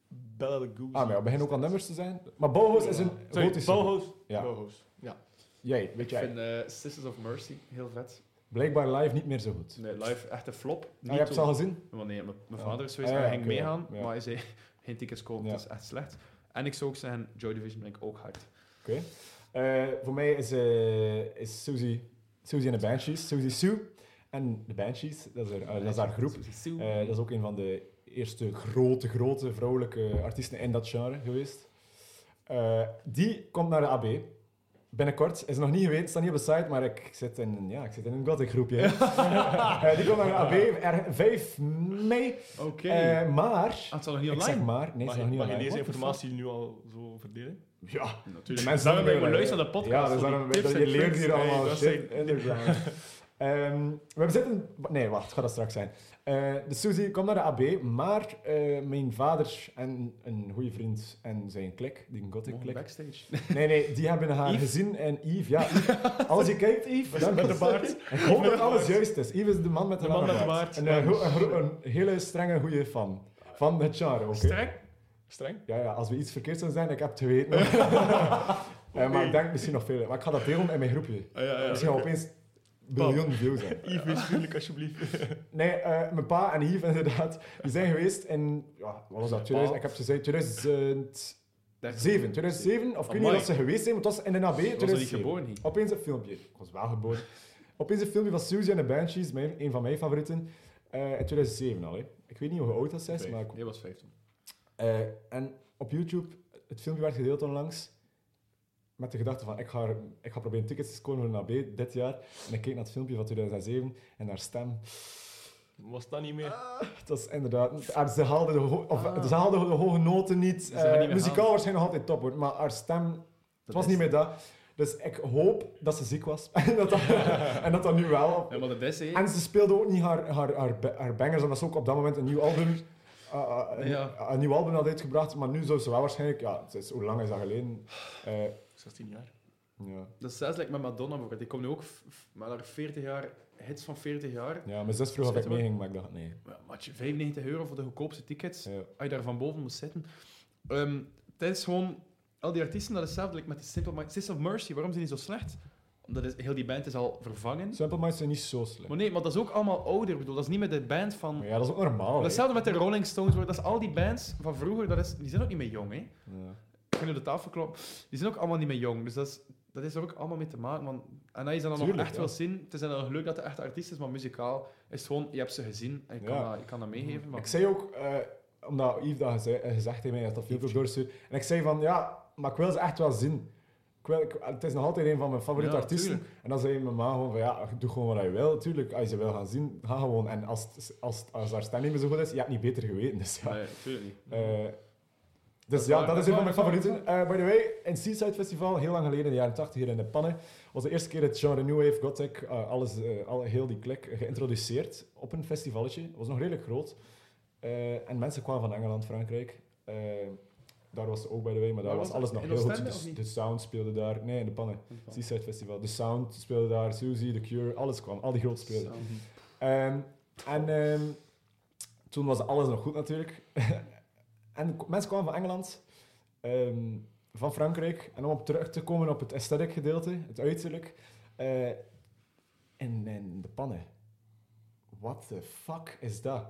Speaker 1: Belle Goose.
Speaker 2: Oh. Ah, maar ja, we beginnen ook aan nummers te zijn. Maar Bauhaus is een
Speaker 1: Sorry,
Speaker 2: gotische.
Speaker 1: Bauhaus.
Speaker 2: Ja.
Speaker 1: Bauhaus. Ja.
Speaker 2: Jij, weet
Speaker 3: Ik
Speaker 2: jij.
Speaker 3: vind eh, Sisters of Mercy heel vet.
Speaker 2: Blijkbaar live niet meer zo goed.
Speaker 3: Nee, live echt een flop.
Speaker 2: Ah,
Speaker 3: Niet
Speaker 2: je hebt ze
Speaker 3: doen.
Speaker 2: al gezien?
Speaker 3: Want nee, mijn mijn
Speaker 2: Ja.
Speaker 3: vader is geweest
Speaker 2: Ah,
Speaker 3: en
Speaker 2: ja,
Speaker 3: ging
Speaker 2: oké, ja.
Speaker 3: meegaan,
Speaker 2: Ja.
Speaker 3: maar hij zei, [laughs] geen tickets kopen,
Speaker 2: Ja.
Speaker 3: dat is echt slecht. En ik zou ook zeggen, Joy Division ben ik ook hard.
Speaker 2: Oké. Eh, voor mij is, eh, is Susie, Susie en de Banshees, Susie Sue en de Banshees, dat is haar, eh, dat is haar groep.
Speaker 3: Uh,
Speaker 1: Mhm.
Speaker 2: Eh, dat is ook een van de eerste grote, grote vrouwelijke artiesten in dat genre geweest. Eh, die komt naar de AB. Binnenkort. Is nog niet geweten, staat niet op de site, maar ik zit in, een- ja, ik zit in een
Speaker 1: [laughs]
Speaker 2: gothic groepje. Eh, die komt naar AB er- 5 mei.
Speaker 3: Oké.
Speaker 2: Eh, maar...
Speaker 3: Ah, het staat nog niet
Speaker 2: Ik zeg
Speaker 3: online.
Speaker 2: maar. Nee,
Speaker 1: mag
Speaker 2: ze
Speaker 1: je,
Speaker 2: nog niet
Speaker 1: mag je
Speaker 2: online.
Speaker 1: deze
Speaker 2: What the
Speaker 1: informatie nu al zo verdelen?
Speaker 2: fuck? Ja.
Speaker 1: Natuurlijk.
Speaker 2: mensen
Speaker 3: Daarom
Speaker 2: zijn
Speaker 3: ben ik
Speaker 2: er,
Speaker 3: geluisterd
Speaker 2: eh,
Speaker 3: naar de podcast.
Speaker 2: Ja, dus
Speaker 3: voor die
Speaker 2: daarom,
Speaker 3: tips
Speaker 2: dat,
Speaker 3: en
Speaker 2: je leert
Speaker 3: tricks.
Speaker 2: hier allemaal
Speaker 1: Nee, dat is
Speaker 2: shit.
Speaker 1: echt- [laughs]
Speaker 2: Underground. Ehm, we hebben zitten... Nee, wacht, gaat dat straks zijn. Eh dus Suzy komt naar de AB, maar eh, mijn vader en een goede vriend en zijn klik, die gothic
Speaker 3: Mogen
Speaker 2: klik. [laughs]
Speaker 3: backstage. [laughs]
Speaker 2: Nee, nee, die hebben haar
Speaker 1: Yves?
Speaker 2: gezien en Yves, ja, Yves, als je
Speaker 1: [laughs]
Speaker 2: kijkt, Yves, dank
Speaker 1: Met
Speaker 2: je.
Speaker 1: de baard.
Speaker 2: Ik hoop
Speaker 1: Met
Speaker 2: dat
Speaker 1: de
Speaker 2: alles
Speaker 1: baard.
Speaker 2: juist is. Yves is de man met de,
Speaker 1: De man
Speaker 2: lange
Speaker 1: met de baard.
Speaker 2: Een, eh, gro- een, gro- een hele strenge, goede fan. Van het genre ook. hè.
Speaker 3: Sterk.
Speaker 1: Streng?
Speaker 2: Ja, ja, als we iets verkeerd zouden zijn, ik heb het
Speaker 3: [laughs]
Speaker 2: geweten. Eh, maar ik denk misschien nog veel. Maar ik ga dat delen in mijn groepje.
Speaker 1: Ah, ja, ja.
Speaker 2: Misschien gaan we
Speaker 1: oké.
Speaker 2: opeens biljoen views hebben.
Speaker 1: [laughs] Yves, wees vriendelijk alsjeblieft. [laughs]
Speaker 2: Nee, eh, mijn pa en Yves [laughs] inderdaad, die zijn geweest in, ja, wat was dat, 2000, ik heb ze gezegd, 2007, 2007, of ik weet niet
Speaker 3: Amai.
Speaker 2: of ze geweest zijn, want het was in de AB,
Speaker 3: Was dat niet
Speaker 2: 2007.
Speaker 3: geboren? hier?
Speaker 2: Opeens een filmpje. Ik was wel geboren. Opeens een filmpje van Suzy en de Banshees, mijn, een van mijn favorieten. eh, in 2007 al. Hè. Ik weet niet hoe oud dat is,
Speaker 1: Vijf.
Speaker 2: maar... ik-
Speaker 3: Jij was 15.
Speaker 2: eh, en op YouTube, het filmpje werd gedeeld onlangs. Met de gedachte van, ik ga, er- ik ga proberen tickets te scoren voor een AB dit jaar. En ik keek naar het filmpje van 2007 en haar stem.
Speaker 1: Was dat niet meer?
Speaker 2: Het was inderdaad... haar- ze, haalde de ho- of, ze haalde de hoge noten niet.
Speaker 3: hebben
Speaker 2: Eh,
Speaker 3: niet meer
Speaker 2: muzikaal
Speaker 3: gehaald.
Speaker 2: waarschijnlijk nog altijd top, hoor. Maar haar stem het was niet meer dat. Dus ik hoop dat ze ziek was. [laughs] en, dat dat, en dat dat nu wel. op-
Speaker 3: Ja, maar dat is hè.
Speaker 2: En ze speelde ook niet haar, haar, haar, ba- haar bangers. En dat is ook op dat moment een nieuw album.
Speaker 3: [laughs]
Speaker 2: eh, eh, een,
Speaker 3: Ja.
Speaker 2: een nieuw album had uitgebracht. Maar nu zou ze wel waarschijnlijk. Ja, het is, hoe lang is dat geleden? Eh,
Speaker 1: 16 jaar.
Speaker 2: ja.
Speaker 3: Dat is zelfs like met Madonna bijvoorbeeld. Die komt nu ook f- f- met haar 40 jaar, hits van 40 jaar.
Speaker 2: ja, mijn zus vroeg of ik
Speaker 3: Zitten we?
Speaker 2: meeging, maar ik dacht nee.
Speaker 3: Maar Matje, 95 euro voor de goedkoopste tickets.
Speaker 2: Ja.
Speaker 3: Als je daar van boven moet zitten. Ehm het is gewoon... Al die artiesten, dat is hetzelfde like met de Simple Minds. System of Mercy, waarom zijn die zo slecht? Omdat is, heel die band is al vervangen.
Speaker 2: Simple Minds zijn niet zo slecht.
Speaker 3: Maar nee, maar dat is ook allemaal ouder. Ik bedoel, dat is niet meer de band van...
Speaker 2: Maar ja, dat is ook normaal. hè.
Speaker 3: Hetzelfde met de Rolling Stones. hoor. Dat is al die bands van vroeger, dat is, die zijn ook niet meer jong, hè.
Speaker 2: Ja.
Speaker 3: kunnen de tafel kloppen. Die zijn ook allemaal niet meer jong. Dus dat is, dat is er ook allemaal mee te maken. Want, en als je ze dan nog
Speaker 2: Tuurlijk,
Speaker 3: echt
Speaker 2: ja.
Speaker 3: wil zien, het is dan nog leuk dat het echt artiest is, maar muzikaal is het gewoon, je hebt ze gezien en je, kan,
Speaker 2: Ja.
Speaker 3: dat, je kan dat meegeven. Maar
Speaker 2: Ik zei ook, eh, omdat Yves dat gezegd, gezegd heeft, mij dat dat filmpje doorstuurt. En ik zei van, ja, maar ik wil ze echt wel zien. Ik wil, ik- het is nog altijd een van mijn favoriete
Speaker 3: Ja,
Speaker 2: artiesten. En dan zei mijn ma gewoon van, ja, doe gewoon wat je wil. Tuurlijk, als je ze wil gaan zien, ga gewoon. En als, het- als, het- als haar stem niet meer zo goed is, je hebt niet beter geweten. Dus ja,
Speaker 3: nee, natuurlijk niet.
Speaker 2: eh, dus
Speaker 3: is
Speaker 2: ja,
Speaker 3: waar,
Speaker 2: dat
Speaker 3: dat
Speaker 2: is
Speaker 3: is
Speaker 2: een van
Speaker 3: waar,
Speaker 2: mijn
Speaker 3: dat is
Speaker 2: favorieten. Eh, by the way, in Seaside Festival, heel lang geleden, in de jaren 80, hier in de pannen, was de eerste keer het genre New Wave, Gothic, eh, alles, eh, al, heel die klik, geïntroduceerd op een festivaletje. Het was nog redelijk groot. Eh, en mensen kwamen van Engeland, Frankrijk. Eh, daar was ze ook, by the way, maar daar
Speaker 3: Waar
Speaker 2: was,
Speaker 3: was
Speaker 2: alles
Speaker 3: dat?
Speaker 2: nog
Speaker 3: In
Speaker 2: heel goed.
Speaker 3: Oostende,
Speaker 2: Dus
Speaker 3: of
Speaker 2: De,
Speaker 3: niet? Oh.
Speaker 2: Sound speelde daar. Nee, in de pannen. Seaside Festival. De Sound speelde daar, Suzy, The Cure, alles kwam. Al die grote speelden.
Speaker 3: Zo.
Speaker 2: Ehm, en ehm, toen was alles nog goed natuurlijk. [laughs] en k- mensen kwamen van Engeland, ehm, van Frankrijk. En om op terug te komen op het aesthetic gedeelte, het uiterlijk. eh, en, en de pannen. What the fuck is dat?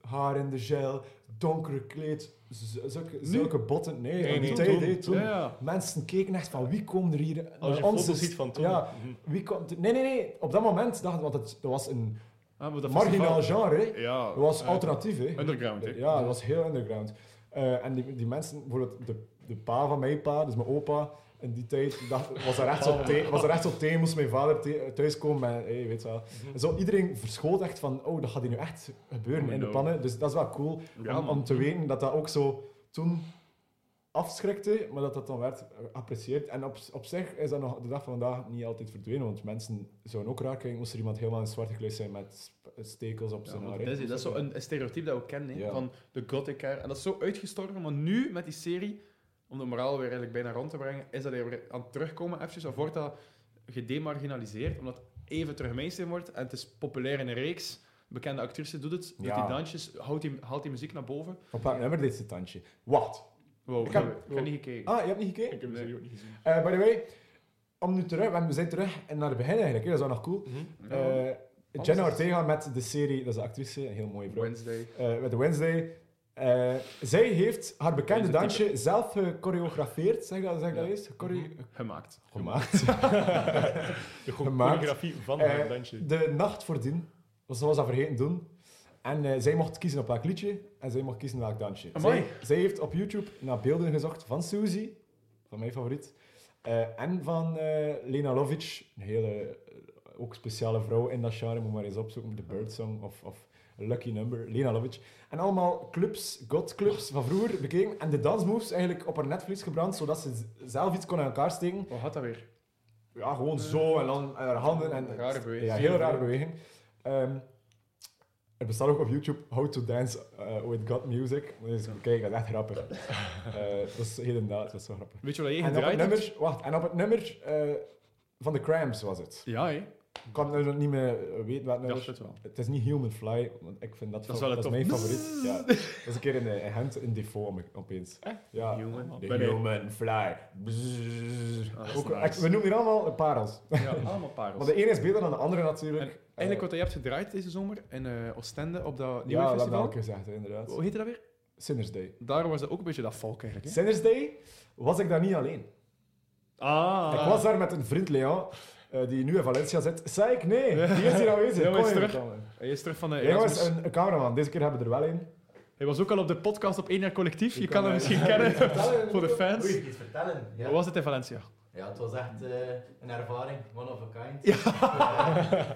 Speaker 2: Haar in de gel, donkere kleed, z- zulke, zulke botten. Nee,
Speaker 1: Nee,
Speaker 2: in die
Speaker 1: nee,
Speaker 2: tijd,
Speaker 1: toen.
Speaker 2: hè, toen.
Speaker 3: Ja, ja.
Speaker 2: Mensen keken echt van wie komt er hier
Speaker 1: Als je
Speaker 2: naar onze
Speaker 1: foto's
Speaker 2: st-
Speaker 1: ziet van toen.
Speaker 2: Ja,
Speaker 1: Mhm.
Speaker 2: wie komt... Nee, nee, nee. Op dat moment dacht ik, want het was een
Speaker 3: Ah, maar dat
Speaker 2: marginaal
Speaker 3: festival-
Speaker 2: genre. hè.
Speaker 3: Ja.
Speaker 2: Het was
Speaker 3: eh,
Speaker 2: alternatief, hè.
Speaker 3: Underground, hè.
Speaker 2: Ja, het was heel underground. Eh, en die, die mensen, bijvoorbeeld de, de pa van mijn pa, dus mijn opa, in die tijd dacht, was er echt
Speaker 3: [laughs]
Speaker 2: zo thee, was er echt zo thee, moest mijn vader thee- thuiskomen en hey, weet je wel. En zo, iedereen verschoot echt van, oh, dat gaat hier nu echt gebeuren
Speaker 3: Mhm. Oh,
Speaker 2: in de
Speaker 3: no.
Speaker 2: pannen. Dus dat is wel cool
Speaker 3: Ja,
Speaker 2: om,
Speaker 3: man.
Speaker 2: om te weten dat dat ook zo toen afschrikte, maar dat dat dan werd geapprecieerd. En op, op zich is dat nog de dag van vandaag niet altijd verdwenen, want mensen zouden ook raar kijken moest er iemand helemaal in zwart gekleed zijn met sp- stekels op
Speaker 3: Ja,
Speaker 2: zijn
Speaker 3: maar
Speaker 2: haar.
Speaker 3: dat,
Speaker 2: hè.
Speaker 3: is, dat is zo een, een stereotype dat we kennen, hè,
Speaker 2: Ja.
Speaker 3: van de gothic hair. En dat is zo uitgestorven, maar nu met die serie, om de moraal weer eigenlijk bijna rond te brengen, is dat er weer aan het terugkomen eventjes, of wordt dat gedemarginaliseerd, omdat het even terug mainstream wordt en het is populair in een reeks. Bekende actrice doet het, doet
Speaker 2: Ja.
Speaker 3: die dansjes, houdt die, haalt die muziek naar boven.
Speaker 2: Op welk nummer deed ze het tandje? Wat?
Speaker 3: Wow,
Speaker 2: Ik
Speaker 3: ik
Speaker 2: heb-
Speaker 3: heb, ik heb niet gekeken.
Speaker 2: Ah, je hebt niet gekeken?
Speaker 1: Ik heb de
Speaker 3: Nee.
Speaker 1: serie ook niet gezien.
Speaker 2: Eh, by the way, om nu terug, want we zijn terug en naar het begin eigenlijk, hè, dat is wel nog cool.
Speaker 3: Ja.
Speaker 2: Eh
Speaker 3: Alles
Speaker 2: Jenna
Speaker 3: is-
Speaker 2: Ortega met de serie, dat is de actrice, een heel mooie vrouw,
Speaker 3: Wednesday.
Speaker 2: eh, met de Wednesday. Eh, zij heeft haar bekende
Speaker 3: Deze
Speaker 2: dansje zelf gechoreografeerd, zeg dat, zeg dat
Speaker 3: Ja. Mhm.
Speaker 2: eens? Choreo-
Speaker 3: Gemaakt.
Speaker 2: Gemaakt.
Speaker 1: [laughs] De
Speaker 2: Gemaakt.
Speaker 1: choreografie van
Speaker 2: Eh,
Speaker 1: haar dansje.
Speaker 2: de nacht voordien, was ze was dat vergeten doen. En eh, zij mocht kiezen op welk liedje en zij mocht kiezen welk dansje.
Speaker 3: Amai.
Speaker 2: Zij, zij heeft op YouTube naar beelden gezocht van Suzy, van mijn favoriet. Eh, en van eh, Lena Lovic, een hele eh, ook speciale vrouw in dat genre, moet maar eens opzoeken, The Bird Song of, of Lucky Number, Lena Lovic. En allemaal clubs, godclubs van vroeger bekeken en de dansmoves eigenlijk op haar netvlies gebrand, zodat ze z- zelf iets kon aan elkaar steken.
Speaker 3: Wat gaat dat weer?
Speaker 2: Ja, gewoon zo en dan haar handen. En,
Speaker 3: Rare beweging.
Speaker 2: Ja, heel rare beweging. Ehm, er bestaat ook op YouTube How to Dance eh, with God Music. Dus kijk, dat is echt grappig. Eh, dat is inderdaad, dat is zo grappig.
Speaker 3: Weet je wat je
Speaker 2: En op het
Speaker 3: gedraaid hebt?
Speaker 2: nummer, wacht, en op het nummer eh, van de Cramps was het.
Speaker 3: Ja, hè?
Speaker 2: Ik kan nu nog niet meer eh, weten wat
Speaker 3: Ik
Speaker 2: het
Speaker 3: dacht
Speaker 2: nummer
Speaker 3: het wel.
Speaker 2: Het is niet Human Fly, want ik vind dat,
Speaker 3: Dat is wel
Speaker 2: dat is
Speaker 3: een
Speaker 2: mijn
Speaker 3: tof-
Speaker 2: favoriet.
Speaker 3: [laughs]
Speaker 2: Ja. Dat is een keer in, eh, in Gent in Defoe om- opeens. Ja.
Speaker 3: Jongen.
Speaker 2: The
Speaker 3: Ben ik.
Speaker 2: Human Fly. Bzzz.
Speaker 3: Ah, dat is
Speaker 2: Ook-
Speaker 3: nice.
Speaker 2: ik- we noemen hier allemaal parels.
Speaker 3: Ja, allemaal parels.
Speaker 2: Want de ene is beter dan de andere
Speaker 3: En
Speaker 2: natuurlijk.
Speaker 3: eigenlijk wat je hebt gedraaid deze zomer in eh, Oostende op dat
Speaker 2: ja,
Speaker 3: nieuwe
Speaker 2: dat hebben we al
Speaker 3: festival.
Speaker 2: gezegd, hè, inderdaad.
Speaker 3: Hoe heette dat weer?
Speaker 2: Sinners Day.
Speaker 3: Daar was dat ook een beetje dat volk eigenlijk. Hè?
Speaker 2: Sinners Day was ik daar niet alleen.
Speaker 3: Ah,
Speaker 2: Ik was daar met een vriend, Leon, eh, die nu in Valencia zit. Zei ik, nee, die is hier aanwezig.
Speaker 3: Ja, maar
Speaker 2: Kom
Speaker 3: is
Speaker 2: even
Speaker 3: terug.
Speaker 2: komen.
Speaker 3: Hij is terug van de
Speaker 2: Ja, jongens,
Speaker 3: Erasmus.
Speaker 2: een, een cameraman. Deze keer hebben we er wel een.
Speaker 3: Hij was ook al op de podcast op 1 jaar collectief.
Speaker 2: Je
Speaker 3: Je
Speaker 2: kan
Speaker 3: kan hem
Speaker 2: mij-
Speaker 3: misschien [laughs] kennen voor de fans.
Speaker 4: Moet ik iets vertellen?
Speaker 3: Hoe
Speaker 4: Ja,
Speaker 3: was het in Valencia?
Speaker 4: ja het was echt eh, een ervaring, one of a kind.
Speaker 3: Ja.
Speaker 4: Eh,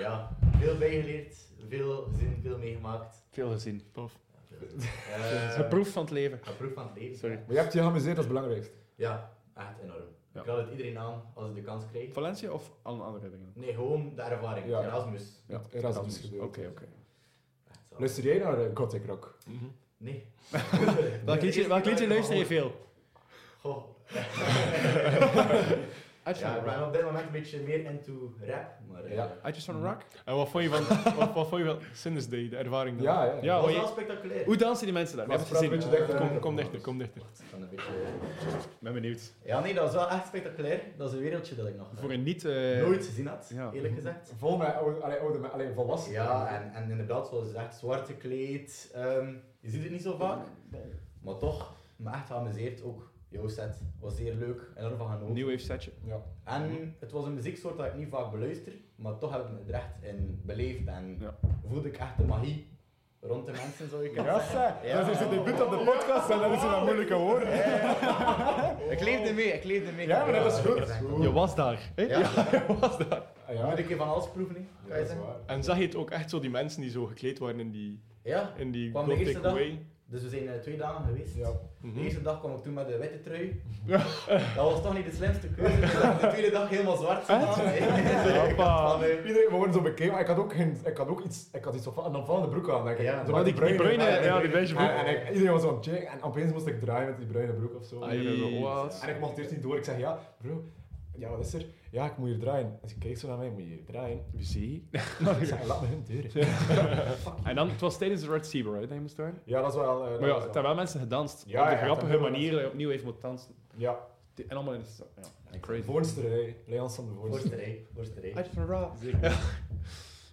Speaker 4: ja, veel bijgeleerd, veel gezien, veel meegemaakt.
Speaker 3: Veel gezien.
Speaker 4: Ja, veel-
Speaker 3: De proef van het leven.
Speaker 4: Een proef van het leven.
Speaker 3: Sorry.
Speaker 2: Maar je hebt je geamuseerd, dat is het belangrijkste.
Speaker 4: Ja, echt enorm.
Speaker 3: Ja.
Speaker 4: Ik raad het iedereen aan als ik de kans krijg.
Speaker 3: Valencia of alle andere dingen?
Speaker 4: Nee, gewoon de ervaring.
Speaker 2: Ja.
Speaker 4: Erasmus.
Speaker 3: Ja,
Speaker 2: Het Erasmus gedeelte.
Speaker 3: Oké, oké.
Speaker 4: Echt zalig.
Speaker 2: Luister jij naar eh, Gothic Rock?
Speaker 1: Mhm.
Speaker 3: [laughs]
Speaker 4: Nee. [laughs]
Speaker 3: Welk liedje, welk liedje luister je veel? [laughs]
Speaker 4: Goh.
Speaker 3: Uit
Speaker 4: ja, ik ben op dit moment een beetje meer into rap, maar... eh,
Speaker 2: Ja.
Speaker 3: Uit van Rock?
Speaker 1: En wat vond je van, wat, wat vond je van Sinus Day, de ervaring dan?
Speaker 2: Ja, ja.
Speaker 3: Ja,
Speaker 4: Dat
Speaker 3: hoor
Speaker 4: was
Speaker 3: je-
Speaker 4: wel spectaculair.
Speaker 3: Hoe dansen die mensen daar?
Speaker 2: Maar
Speaker 3: Heb je
Speaker 2: praat
Speaker 3: het
Speaker 2: een
Speaker 3: gezien?
Speaker 2: beetje dichter.
Speaker 1: Kom, kom dichter, kom dichter.
Speaker 4: Dan een beetje...
Speaker 3: Ik ben benieuwd.
Speaker 4: Ja, nee, dat was wel echt spectaculair. Dat is een wereldje dat ik nog
Speaker 3: Voor een niet... eh,
Speaker 4: nooit gezien had,
Speaker 3: ja.
Speaker 4: eerlijk gezegd.
Speaker 2: Vol met oude, allee, oude me- allee, volwassenen.
Speaker 4: Ja, en, en inderdaad, zoals gezegd, zwart gekleed. ehm, je ziet het niet zo vaak, maar toch, me echt geamuseerd ook. Jouw set was zeer leuk en ervan genoten.
Speaker 3: New Wave setje.
Speaker 2: Ja.
Speaker 4: En het was een muzieksoort dat ik niet vaak beluister, maar toch heb ik me er echt in beleefd en
Speaker 3: Ja.
Speaker 4: voelde ik echt de magie rond de mensen, zou je kunnen
Speaker 2: Ja,
Speaker 4: zeggen.
Speaker 2: zeg. Dat is zijn debuut op de podcast en dat is een moeilijke woorden.
Speaker 4: Ik leefde mee, ik leefde mee.
Speaker 2: Ja, maar dat is goed.
Speaker 3: Je was daar. hè?
Speaker 4: Ja.
Speaker 3: je was daar.
Speaker 2: Ah, Ja,
Speaker 4: Moet ik je van alles proeven, hè? Kan je
Speaker 2: dat is
Speaker 4: zeggen?
Speaker 2: waar.
Speaker 1: En zag je het ook echt zo, die mensen die zo gekleed waren in die,
Speaker 4: Ja,
Speaker 1: in die
Speaker 4: Kwam de eerste
Speaker 1: gothic
Speaker 4: dag?
Speaker 1: way?
Speaker 4: dus we zijn eh, twee dagen geweest.
Speaker 2: Ja.
Speaker 4: De
Speaker 1: Mhm.
Speaker 4: eerste dag kwam ik toen met de witte trui. Dat was toch niet de slimste
Speaker 2: [laughs]
Speaker 4: keuze. Ik heb De tweede dag helemaal zwart gedaan.
Speaker 5: [laughs]
Speaker 4: hè. Ik
Speaker 3: Ah,
Speaker 4: had van, eh,
Speaker 2: Ah, Iedereen, we worden zo bekeken, maar ik had ook, geen, ik had ook iets, ik had iets op, een opvallende broek aan, denk ik.
Speaker 4: Ja,
Speaker 2: Zo
Speaker 4: maar
Speaker 2: met
Speaker 3: die- die bruine-
Speaker 2: en-
Speaker 3: ja, die beige broek.
Speaker 2: En, en ik, iedereen was zo aan het checken en opeens moest ik draaien met die bruine broek of
Speaker 3: Ah,
Speaker 2: zo.
Speaker 1: Ai.
Speaker 3: Wat?
Speaker 2: En ik mocht eerst niet door. Ik zeg, ja, bro, ja, wat is er? Ja, ik moet hier draaien. En ze kijkt zo naar mij, moet je hier
Speaker 3: [laughs]
Speaker 2: draaien?
Speaker 3: Zie.
Speaker 2: Ik zeg, laat me hun deuren.
Speaker 3: En dan, het was tijdens de Red Sea Ride dat je moest draaien.
Speaker 2: Ja, dat is wel... eh, dat
Speaker 3: Maar ja,
Speaker 2: is wel-
Speaker 3: het hebben wel mensen gedanst.
Speaker 2: Ja,
Speaker 3: op de
Speaker 2: ja,
Speaker 3: grappige
Speaker 2: dat hebben
Speaker 3: manier dat je opnieuw even moet dansen.
Speaker 2: Ja,
Speaker 3: Die- En allemaal in de stad. Ja. Crazy.
Speaker 2: voorsterij. Leon van de voorsterij.
Speaker 4: Voorsterij, voorsterij.
Speaker 3: Uit van Ra.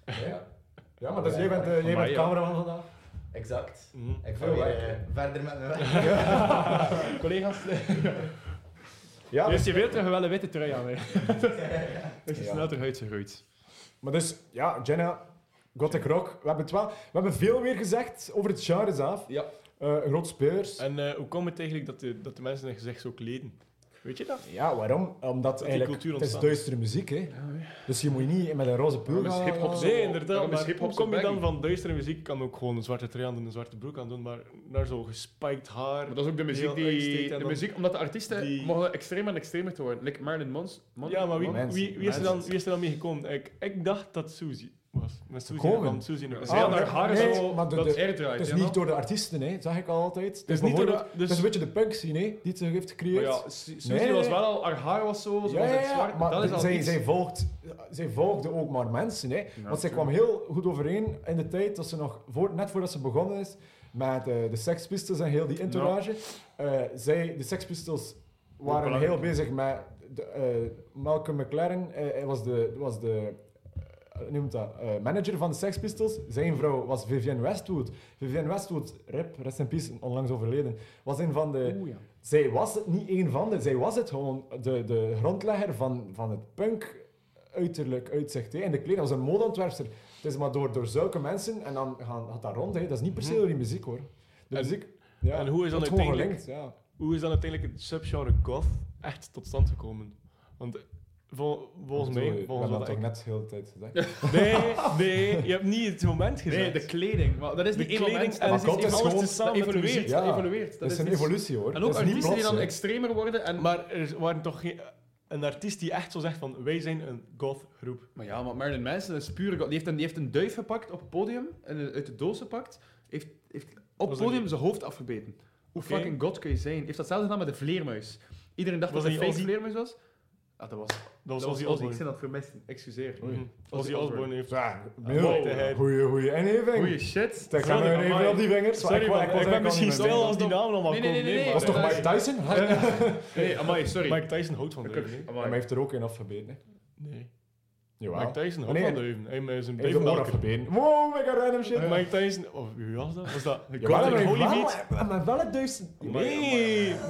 Speaker 2: Ja. ja, maar dus jij bent, eh, jij
Speaker 3: Van mij,
Speaker 2: bent
Speaker 3: ja.
Speaker 2: cameraman vandaag.
Speaker 4: Exact.
Speaker 1: Mhm.
Speaker 4: Ik ga
Speaker 2: Veel
Speaker 4: weer
Speaker 2: werk,
Speaker 4: eh, verder
Speaker 2: [laughs]
Speaker 4: met mijn weg.
Speaker 3: Collega's.
Speaker 2: Ja,
Speaker 3: Dus je weer terug wel een witte trui aan. Hè. Dus je
Speaker 2: Ja.
Speaker 3: snel eruit gegroeid.
Speaker 2: maar dus, ja, Jenna, Gothic Rock. We hebben, het wel, we hebben veel weer gezegd over het genre zelf.
Speaker 3: Ja.
Speaker 2: Eh, een groot speurs.
Speaker 1: En eh, hoe komt het eigenlijk dat de, dat de mensen zich echt zo kleden? Weet je dat?
Speaker 2: Ja, waarom? Omdat
Speaker 1: die
Speaker 2: eigenlijk,
Speaker 1: cultuur
Speaker 2: het is
Speaker 1: ontstaat.
Speaker 2: duistere muziek, hè. Dus je moet niet met een roze Ah, pul
Speaker 3: Waarom is
Speaker 2: gaan-
Speaker 3: hiphop zo-
Speaker 1: Nee, inderdaad.
Speaker 3: Waarom is
Speaker 1: Maar
Speaker 3: hiphop
Speaker 1: hoe
Speaker 3: zo
Speaker 1: kom je dan
Speaker 3: baggy?
Speaker 1: van duistere muziek? Ik kan ook gewoon een zwarte trui aan doen, een zwarte broek aan doen, maar naar zo gespiked haar.
Speaker 3: Maar dat is ook de muziek
Speaker 1: heel uitsteekt
Speaker 3: die...
Speaker 1: en
Speaker 3: De
Speaker 1: dan-
Speaker 3: muziek, omdat de artiesten
Speaker 1: die-
Speaker 3: mogen extreem en extremer te worden. Like Marilyn Mons. Mon-
Speaker 1: Ja, maar wie,
Speaker 3: Mon-
Speaker 2: Mensen.
Speaker 1: wie, wie, is er dan,
Speaker 2: Mensen.
Speaker 1: wie is er dan mee gekomen? Ik, ik dacht dat Suzy was. Met Suzy
Speaker 2: Komen.
Speaker 1: kwam Suzy nog.
Speaker 3: Dus
Speaker 2: Ah,
Speaker 3: heel
Speaker 2: maar-
Speaker 3: naar haar is
Speaker 2: nee,
Speaker 3: zo
Speaker 2: maar de-
Speaker 3: dat
Speaker 2: de-
Speaker 3: air draait.
Speaker 2: Het is
Speaker 3: ja,
Speaker 2: niet
Speaker 3: nou?
Speaker 2: door de artiesten, hè, zag ik altijd. Het
Speaker 1: Dus
Speaker 2: is,
Speaker 1: niet door
Speaker 2: behoorlijk-
Speaker 1: de- dus-
Speaker 2: het is een beetje de punk scene hè, die het eh, heeft
Speaker 3: Maar
Speaker 2: gecreëerd.
Speaker 3: ja, Su- Suzy
Speaker 2: Nee, nee,
Speaker 3: was
Speaker 2: nee.
Speaker 3: wel al... Haar haar was zo, ze
Speaker 2: Ja,
Speaker 3: was
Speaker 2: ja,
Speaker 3: het
Speaker 2: ja,
Speaker 3: zwart.
Speaker 2: maar
Speaker 3: dat is al
Speaker 2: zij,
Speaker 3: iets.
Speaker 2: zij, volgt, zij volgde ook maar mensen. Hè. Want zij kwam heel goed overeen in de tijd dat ze nog, voor, net voordat ze begonnen is, met eh, de Sex Pistols en heel die entourage. Eh, zij, de Sex Pistols waren
Speaker 3: belangrijk.
Speaker 2: heel bezig met de, eh, Malcolm McLaren. eh, hij was de, was de eh, hoe noemt dat, eh, manager van de Sex Pistols. Zijn vrouw was Vivienne Westwood. Vivienne Westwood, rip, rest in peace, onlangs overleden, was een van de...
Speaker 3: Oeh, ja.
Speaker 2: Zij was het niet één van de, zij was het gewoon de, de grondlegger van, van het punk uiterlijk uitzicht. Hè. En de kleding was een modeontwerpster. Het is maar door, door zulke mensen en dan gaan, gaat dat rond. Hè. Dat is niet per se door die muziek hoor. De
Speaker 1: Mhm. En-
Speaker 2: muziek. Ja,
Speaker 1: en hoe is dan
Speaker 2: wordt gewoon
Speaker 1: uiteindelijk-
Speaker 2: gelinkt, ja.
Speaker 1: Hoe is dan uiteindelijk het subgenre goth echt tot stand gekomen? Want vol- volgens mij...
Speaker 2: Ik heb
Speaker 1: Volgens
Speaker 2: dat
Speaker 1: wat
Speaker 2: toch
Speaker 1: ik...
Speaker 2: net de hele tijd gezegd.
Speaker 1: Nee, nee, je hebt niet het moment gezegd.
Speaker 3: Nee, de kleding. Maar dat is
Speaker 1: De
Speaker 3: niet één
Speaker 1: kleding
Speaker 3: moment.
Speaker 1: en
Speaker 3: dat
Speaker 2: dat
Speaker 3: iets-
Speaker 2: is
Speaker 1: alles
Speaker 2: gewoon-
Speaker 1: tezamen met de
Speaker 3: evolueert.
Speaker 1: muziek.
Speaker 2: Ja.
Speaker 3: dat evolueert.
Speaker 2: Dat is een
Speaker 3: iets-
Speaker 2: evolutie hoor.
Speaker 3: En
Speaker 2: Dat
Speaker 3: ook
Speaker 2: is niet
Speaker 3: artiesten die
Speaker 2: plots,
Speaker 3: dan
Speaker 2: hè.
Speaker 3: extremer worden. En...
Speaker 1: Maar er waren toch geen... Een artiest die echt zo zegt van, wij zijn een goth-groep.
Speaker 3: Maar ja, maar Marilyn Manson is puur... Die heeft een, die heeft een duif gepakt op het podium, en een- uit de doos gepakt, heeft, heeft op
Speaker 1: dat
Speaker 3: het podium
Speaker 1: niet-
Speaker 3: zijn hoofd afgebeten. Hoe
Speaker 1: Oké.
Speaker 3: fucking god kun je zijn? Heeft datzelfde gedaan met de vleermuis. Iedereen dacht
Speaker 1: Was
Speaker 3: dat
Speaker 1: dat
Speaker 3: het een
Speaker 1: niet
Speaker 3: fake
Speaker 1: Ozzy?
Speaker 3: vleermuis was. Ah, dat was,
Speaker 1: Dat was
Speaker 3: dat was
Speaker 1: Ozzy
Speaker 3: Ozzy. Ik
Speaker 1: Osbourne.
Speaker 3: zin dat vermist. Excuseer.
Speaker 2: Oei.
Speaker 1: Mhm. Ozzy Osbourne heeft...
Speaker 2: Ja,
Speaker 1: wow.
Speaker 2: wow. Goeie, goeie
Speaker 3: Goeie
Speaker 2: inheving.
Speaker 3: shit.
Speaker 2: Daar gaan we
Speaker 1: Sorry,
Speaker 2: even
Speaker 1: maar-
Speaker 2: op die vingers. maar
Speaker 1: Sorry,
Speaker 2: wou-
Speaker 1: man,
Speaker 2: wou
Speaker 1: ik ben
Speaker 2: eigenlijk
Speaker 1: misschien
Speaker 2: al niet meer
Speaker 1: stil als die
Speaker 2: denken.
Speaker 1: namen allemaal
Speaker 3: Nee, nee,
Speaker 1: komen.
Speaker 3: nee, nee,
Speaker 1: maar-
Speaker 2: Dat is toch
Speaker 3: Eh,
Speaker 2: Mike
Speaker 1: [laughs]
Speaker 2: Tyson? Ja,
Speaker 3: Nee, amai, sorry.
Speaker 1: Mike Tyson houdt van Deuven. hè?
Speaker 2: maar
Speaker 3: Amai.
Speaker 2: hij heeft er ook een afgebeten. hè.
Speaker 1: Nee.
Speaker 2: Jawel.
Speaker 1: Mike Tyson houdt
Speaker 2: Nee.
Speaker 1: van Deuven. Hij is een
Speaker 2: Hij heeft
Speaker 1: blijven
Speaker 2: een oor
Speaker 1: melker.
Speaker 2: afgebeten. Wow, mega random shit. Ja.
Speaker 1: Mike Tyson... Of wie was dat? Was dat
Speaker 2: Ja, maar
Speaker 1: Godric
Speaker 2: wel-
Speaker 1: Holyfield?
Speaker 2: maar- Maar wel het duizend.
Speaker 1: Nee,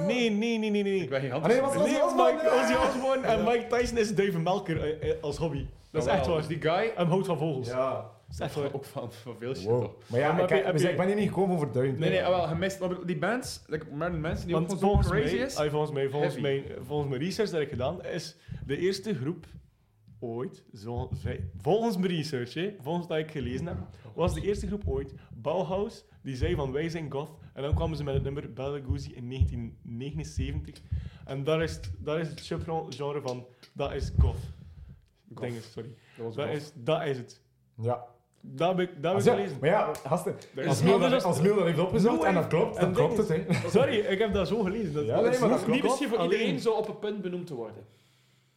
Speaker 1: nee, nee, nee, nee, nee.
Speaker 3: Ik ben gigantisch.
Speaker 2: Allee, was dat-
Speaker 1: Nee,
Speaker 2: Osbourne,
Speaker 1: Mike,
Speaker 2: ja.
Speaker 1: Ozzy Osbourne en Mike Tyson is duivenmelker eh, eh, als hobby. Dat is echt
Speaker 3: Jawel,
Speaker 1: waar.
Speaker 3: Dus die guy...
Speaker 1: En houdt van vogels.
Speaker 2: Ja.
Speaker 1: Dat is echt waar.
Speaker 3: Echt ook van, van veel shit, toch?
Speaker 2: Wow. Maar ja,
Speaker 1: Maar
Speaker 2: ik,
Speaker 1: heb je-
Speaker 2: we zijn- ik ben hier niet gekomen voor duizend.
Speaker 3: Nee, nee, ah, wel, gemist. Maar die bands, like Marilyn Manson, die ook
Speaker 1: Want
Speaker 3: gewoon
Speaker 1: volgens
Speaker 3: zo crazy
Speaker 1: mij,
Speaker 3: is.
Speaker 1: ah, volgens, mij, volgens,
Speaker 3: Heavy.
Speaker 1: mijn, volgens mijn research dat ik gedaan is de eerste groep ooit, zo, zij- volgens mijn research, hè, volgens dat ik gelezen heb, was de eerste groep ooit Bauhaus, die zei van wij zijn goth. En dan kwamen ze met het nummer Belleguzi in 1979. En daar is, het- daar is het subgenre van dat is goth.
Speaker 3: Goth.
Speaker 1: Ding is, sorry.
Speaker 3: Dat was
Speaker 1: Dat
Speaker 3: wel-
Speaker 1: is, dat is het.
Speaker 2: Ja.
Speaker 1: Dat heb ik, dat heb
Speaker 2: Als
Speaker 1: ik
Speaker 2: ja
Speaker 1: gelezen.
Speaker 2: maar ja, gasten,
Speaker 3: Er
Speaker 2: als
Speaker 1: is
Speaker 2: Miel
Speaker 1: anders
Speaker 2: dat,
Speaker 1: als-
Speaker 2: als Miel dat heeft opgezocht
Speaker 1: No
Speaker 2: en
Speaker 1: way.
Speaker 2: dat klopt,
Speaker 1: En
Speaker 2: dan klopt
Speaker 1: ding
Speaker 2: het. hè.
Speaker 1: Sorry, ik heb dat zo gelezen. Dat,
Speaker 2: Ja, nee,
Speaker 1: dat
Speaker 2: maar dat
Speaker 1: hoeft
Speaker 2: klopt.
Speaker 1: niet per se voor
Speaker 3: Alleen.
Speaker 1: iedereen.
Speaker 3: zo op een punt benoemd te worden.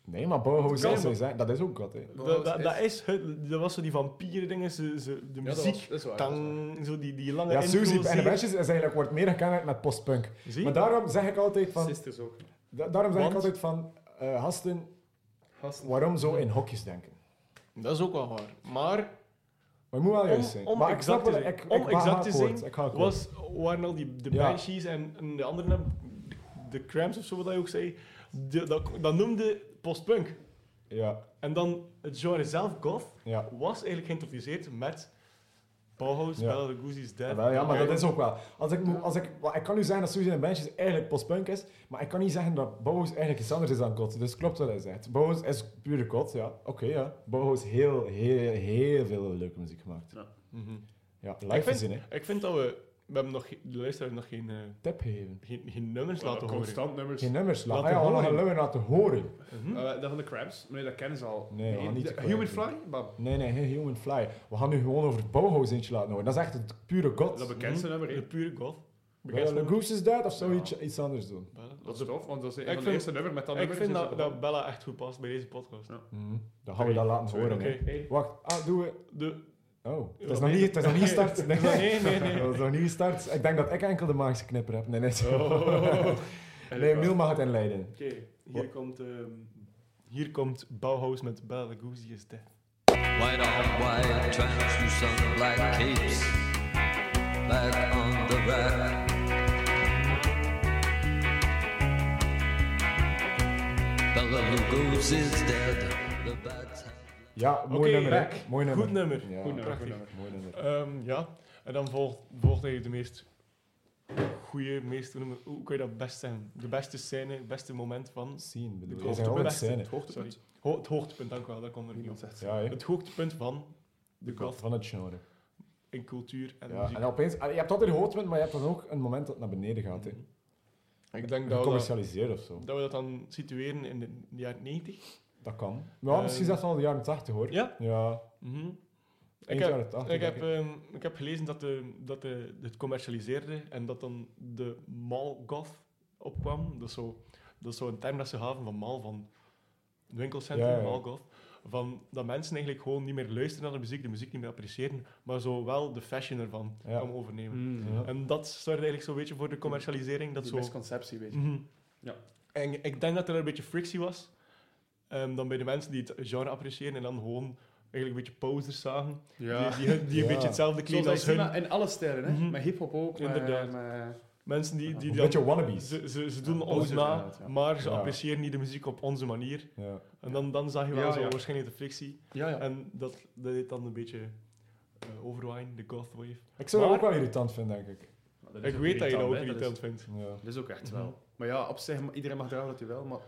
Speaker 2: Nee, maar Bauhaus
Speaker 1: Kan
Speaker 2: zelfs
Speaker 1: maar-
Speaker 2: zou zijn, dat is ook god. hè.
Speaker 1: Dat, dat, dat is het, dat was zo die vampieren dingen, ze, ze, de muziek,
Speaker 3: dat is waar.
Speaker 1: tang, zo die, die lange
Speaker 2: Ja,
Speaker 1: intro,
Speaker 2: Susie en de
Speaker 1: zeer-
Speaker 2: Benches is eigenlijk wordt meer gekenmerkt met postpunk.
Speaker 1: Zie?
Speaker 2: Maar daarom zeg ik altijd van,
Speaker 3: Sisters ook.
Speaker 2: da- daarom zeg ik
Speaker 1: Want?
Speaker 2: altijd van, eh, gasten,
Speaker 3: Gasten.
Speaker 2: waarom zo in hokjes denken?
Speaker 1: dat is ook wel waar. Maar
Speaker 2: Maar het moet wel
Speaker 1: Om-
Speaker 2: juist zijn.
Speaker 1: om
Speaker 2: Maar ik
Speaker 1: exact
Speaker 2: snap wel,
Speaker 1: te
Speaker 2: ik,
Speaker 1: zijn.
Speaker 2: ik,
Speaker 1: Om
Speaker 2: ik
Speaker 1: exact
Speaker 2: ga
Speaker 1: te
Speaker 2: akkoord,
Speaker 1: zijn,
Speaker 2: ik ga akkoord.
Speaker 1: was, waren al die de
Speaker 2: Ja.
Speaker 1: Banshees en, en de anderen, de Cramps of zo, wat hij ook zei, de- dat, dat noemde postpunk.
Speaker 2: Ja,
Speaker 1: En dan het genre zelf, goth,
Speaker 2: ja.
Speaker 1: was eigenlijk geïntroduceerd met Bauhaus,
Speaker 2: Ja. Ah,
Speaker 1: Bella Lugosi's Dead.
Speaker 2: Wel, ja, maar dat is ook wel. Als ik, moet- als ik, wel, ik kan nu zeggen dat Susie en Benches eigenlijk postpunk is, maar ik kan niet zeggen dat Bauhaus eigenlijk iets anders is dan God. Dus klopt wat hij zegt. Bauhaus is pure God, ja. Oké, ja. Bauhaus heel, heel, heel veel leuke muziek gemaakt.
Speaker 1: Mhm.
Speaker 2: Ja,
Speaker 1: Ik
Speaker 2: live
Speaker 1: vind-
Speaker 2: gezien, hè.
Speaker 1: Ik vind dat we, we hebben nog, ge- de luisteraars nog geen, eh,
Speaker 2: Tip geven.
Speaker 1: geen, geen nummers laten horen.
Speaker 3: Constant nummers.
Speaker 2: Geen nummers laten. Ah,
Speaker 1: Laten
Speaker 2: ja, we
Speaker 1: horen.
Speaker 2: gaan nummer laten horen.
Speaker 1: Mhm.
Speaker 3: Eh, dat van de Crabs. Nee, dat kennen ze al.
Speaker 2: Nee, we gaan niet
Speaker 3: de-
Speaker 2: de
Speaker 3: Human
Speaker 2: Crabs.
Speaker 3: Fly? Maar
Speaker 2: Nee, nee, geen Human Fly. We gaan nu gewoon over Bauhaus eentje laten horen. Dat is echt het pure God.
Speaker 3: dat bekendste nummer.
Speaker 1: Mhm. De
Speaker 3: hè.
Speaker 1: pure goth.
Speaker 2: Wel,
Speaker 1: Bekendste
Speaker 2: de Goose is dead of zou je
Speaker 3: Ja.
Speaker 2: iets, iets anders doen?
Speaker 3: Dat is tof, want dat is een
Speaker 1: Ik
Speaker 3: van de
Speaker 1: vind-
Speaker 3: eerste nummer met dat
Speaker 1: Ik
Speaker 3: nummer.
Speaker 1: vind
Speaker 3: Dus
Speaker 1: dat, dat Bella echt goed past bij deze podcast.
Speaker 3: Ja.
Speaker 2: Mhm. Dan gaan we dat laten
Speaker 3: twee,
Speaker 2: horen.
Speaker 1: Oké.
Speaker 2: hè. Wacht, ah, doen we.
Speaker 1: De,
Speaker 2: Oh, het
Speaker 1: Ja,
Speaker 2: is nog
Speaker 1: nee.
Speaker 2: niet, het is nog niet gestart. Nee,
Speaker 1: [laughs] nee,
Speaker 2: [laughs]
Speaker 1: nee, nee.
Speaker 2: Het is nog niet gestart. Ik denk dat ik enkel de magische knipper heb. Nee, nee.
Speaker 1: [laughs] Oh.
Speaker 2: [laughs] nee, Miel mag het inleiden.
Speaker 1: Oké, hier komt... ehm, hier komt Bauhaus met Bella Lugosi is dead.
Speaker 5: White on white translucent black capes back on the rack. Bella Lugosi's dead. The bats have
Speaker 2: Ja, mooi
Speaker 1: Oké,
Speaker 2: nummer. hè.
Speaker 1: back.
Speaker 2: Mooi nummer.
Speaker 1: Goed nummer.
Speaker 2: Ja,
Speaker 3: Goed nummer,
Speaker 1: prachtig.
Speaker 3: goed nummer.
Speaker 2: Mooi nummer.
Speaker 1: Ehm, ja, en dan volgt, volgt eigenlijk de meest goede, meest... hoe noem je- Hoe kan je dat best zeggen? De beste scène, het beste moment van...
Speaker 2: Scene, bedoel
Speaker 1: Het
Speaker 2: je. Dat zijn altijd
Speaker 1: hoogtepunt.
Speaker 2: scène.
Speaker 1: Het hoogtepunt. Ho- het hoogtepunt, dank u wel, dat kon er niet op.
Speaker 3: zegt.
Speaker 2: Ja, hè.
Speaker 1: Het hoogtepunt van de goth
Speaker 2: Van het genre.
Speaker 1: in cultuur en
Speaker 2: Ja,
Speaker 1: muziek.
Speaker 2: en opeens, ah, je hebt altijd een hoogtepunt, maar je hebt dan ook een moment dat het naar beneden gaat. Hè. Hm.
Speaker 1: Ik denk dat we dat,
Speaker 2: Gecommercialiseerd of zo.
Speaker 1: dat we dat dan situeren in de jaren 90.
Speaker 2: Dat kan. Maar
Speaker 1: Eh,
Speaker 2: misschien zelfs al de jaren 80 hoor.
Speaker 1: Ja.
Speaker 2: Ja,
Speaker 1: Mhm. Ik
Speaker 2: eind
Speaker 1: heb,
Speaker 2: jaren 80.
Speaker 1: ik, heb,
Speaker 2: denk
Speaker 1: ehm, ik heb gelezen dat, de, dat de, het commercialiseerde en dat dan de mall-goth opkwam. Dat is, zo, dat is zo een term dat ze gaven van mall, van winkelcentrum,
Speaker 2: Ja, ja.
Speaker 1: mall-goth. Van dat mensen eigenlijk gewoon niet meer luisteren naar de muziek, de muziek niet meer appreciëren, maar zo wel de fashion ervan
Speaker 2: Ja. Mhm.
Speaker 1: gaan overnemen.
Speaker 2: Ja.
Speaker 1: En dat zorgde eigenlijk zo'n beetje voor de commercialisering. Dat
Speaker 3: Dat is
Speaker 1: zo,
Speaker 3: misconceptie, weet je.
Speaker 1: Mhm.
Speaker 3: Ja.
Speaker 1: En ik denk dat er een beetje frictie was. ehm, dan bij de mensen die het genre appreciëren en dan gewoon eigenlijk een beetje posers zagen. Die, die, die een
Speaker 2: Ja.
Speaker 1: beetje hetzelfde
Speaker 3: Zoals
Speaker 1: kleden
Speaker 3: dat
Speaker 1: als
Speaker 3: je ziet,
Speaker 1: hun.
Speaker 3: maar in alle stijlen, hè.
Speaker 1: Mhm.
Speaker 3: Met hip-hop ook. met-
Speaker 1: Inderdaad.
Speaker 3: met-
Speaker 1: Mensen die, die
Speaker 2: Een
Speaker 1: dan-
Speaker 2: beetje wannabes.
Speaker 1: Ze, ze, ze doen
Speaker 3: Ja,
Speaker 1: ons
Speaker 3: posers
Speaker 1: na,
Speaker 3: inderdaad, ja.
Speaker 1: maar ze
Speaker 2: Ja.
Speaker 1: appreciëren niet de muziek op onze manier.
Speaker 2: Ja.
Speaker 1: En dan, dan zag je wel
Speaker 3: Ja,
Speaker 1: zo
Speaker 3: ja.
Speaker 1: waarschijnlijk de frictie.
Speaker 3: Ja, ja.
Speaker 1: En dat, dat deed dan een beetje eh, overwaaien, de goth wave.
Speaker 2: Ik zou dat
Speaker 1: Maar-
Speaker 2: ook wel irritant vinden, denk ik.
Speaker 3: Dat
Speaker 6: dat is
Speaker 1: Ik
Speaker 6: ook
Speaker 1: weet dat je dat ook
Speaker 6: hè.
Speaker 1: irritant vindt.
Speaker 2: Ja.
Speaker 6: Dat is ook echt wel.
Speaker 3: Maar ja, op zich, iedereen mag dragen dat hij wel, maar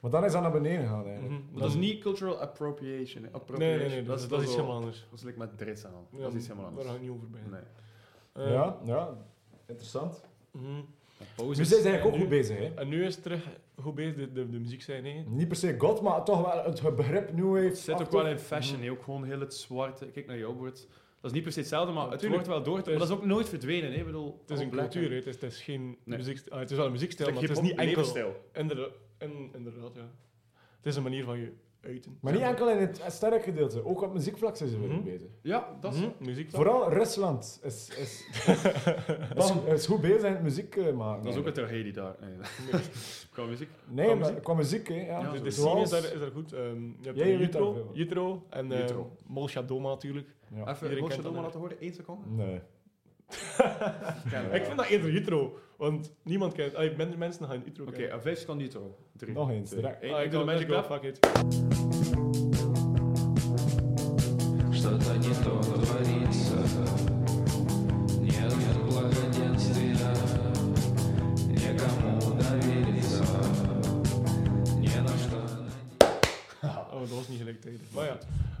Speaker 2: Maar dan is dat naar beneden gegaan eigenlijk.
Speaker 1: Mhm.
Speaker 3: dat is niet cultural appropriation. hè.
Speaker 1: Nee,
Speaker 3: appropriation.
Speaker 1: nee, nee, dat, is- dat is iets
Speaker 3: wel-
Speaker 1: helemaal anders.
Speaker 3: Dat is like met dreads aan.
Speaker 1: Ja,
Speaker 3: dat is iets helemaal anders.
Speaker 1: Daar ga ik niet over bij.
Speaker 3: Nee.
Speaker 1: Eh,
Speaker 2: ja, ja, interessant.
Speaker 1: mhm.
Speaker 2: Nu Dus zijn ze eigenlijk ook goed bezig, hè?
Speaker 1: En nu is het terug goed bezig, de, de, de muziek zijn. Hè.
Speaker 2: Niet per se God, maar toch wel het begrip New Wave.
Speaker 6: Het zit ook wel in fashion, hè. ook gewoon heel het zwarte. Kijk naar jouw woord. Dat is niet per se hetzelfde, maar het
Speaker 1: Natuurlijk.
Speaker 6: wordt wel door.
Speaker 1: Het
Speaker 6: Maar
Speaker 1: is-
Speaker 6: dat is ook nooit verdwenen. Hè. Ik bedoel,
Speaker 1: Het is een
Speaker 6: black, hè.
Speaker 1: cultuur, hè. het is, het is geen
Speaker 6: Nee.
Speaker 1: muziek, ah, het is wel een muziekstijl,
Speaker 3: Like
Speaker 1: maar het is
Speaker 3: hip-hop
Speaker 1: niet enkel.
Speaker 3: levensstijl.
Speaker 1: Inderdaad, in, inderdaad, ja. Het is een manier van je uiten.
Speaker 2: Maar niet enkel in het sterke gedeelte, ook op muziekvlak zijn ze weer
Speaker 1: Mhm.
Speaker 2: bezig.
Speaker 3: Ja, dat is...
Speaker 1: Hm? Muziek dan?
Speaker 2: Vooral Rusland is, is, is, is goed bezig in het muziek eh, maken.
Speaker 3: Dat is ook
Speaker 2: eigenlijk.
Speaker 3: een tragedie daar. Nee. Qua muziek.
Speaker 2: Nee,
Speaker 1: qua
Speaker 2: maar
Speaker 1: muziek.
Speaker 2: qua muziek, hè. Ja.
Speaker 3: Ja,
Speaker 1: de de
Speaker 2: Zoals-
Speaker 1: scene is daar, is daar goed. Ehm, je hebt
Speaker 2: Jij weet daar
Speaker 1: Jutro,
Speaker 2: veel.
Speaker 1: Jutro en eh
Speaker 3: Jutro.
Speaker 1: Molsha Doma natuurlijk.
Speaker 2: Ja.
Speaker 3: Even,
Speaker 1: Iedereen
Speaker 3: wil je
Speaker 1: kent
Speaker 3: dat maar
Speaker 1: dat,
Speaker 3: laten horen? Eén seconde?
Speaker 2: Nee.
Speaker 3: Ken-
Speaker 1: Ik vind dat eerder Jutro, want niemand kent, ah, minder mensen gaan Jutro
Speaker 3: Oké,
Speaker 1: kennen.
Speaker 3: en vijf seconden Nitro. Drie.
Speaker 2: Nog eens,
Speaker 3: twee,
Speaker 2: direct.
Speaker 3: één.
Speaker 1: Ah,
Speaker 3: ik doe de
Speaker 1: kan-
Speaker 3: magic
Speaker 1: let's go,
Speaker 3: lap.
Speaker 1: fuck
Speaker 2: [laughs]
Speaker 1: it.
Speaker 5: Что то не то творится Нет благоденствия Некому довериться Не на что
Speaker 1: Oh, dat was niet gelijktijdig. Maar ja,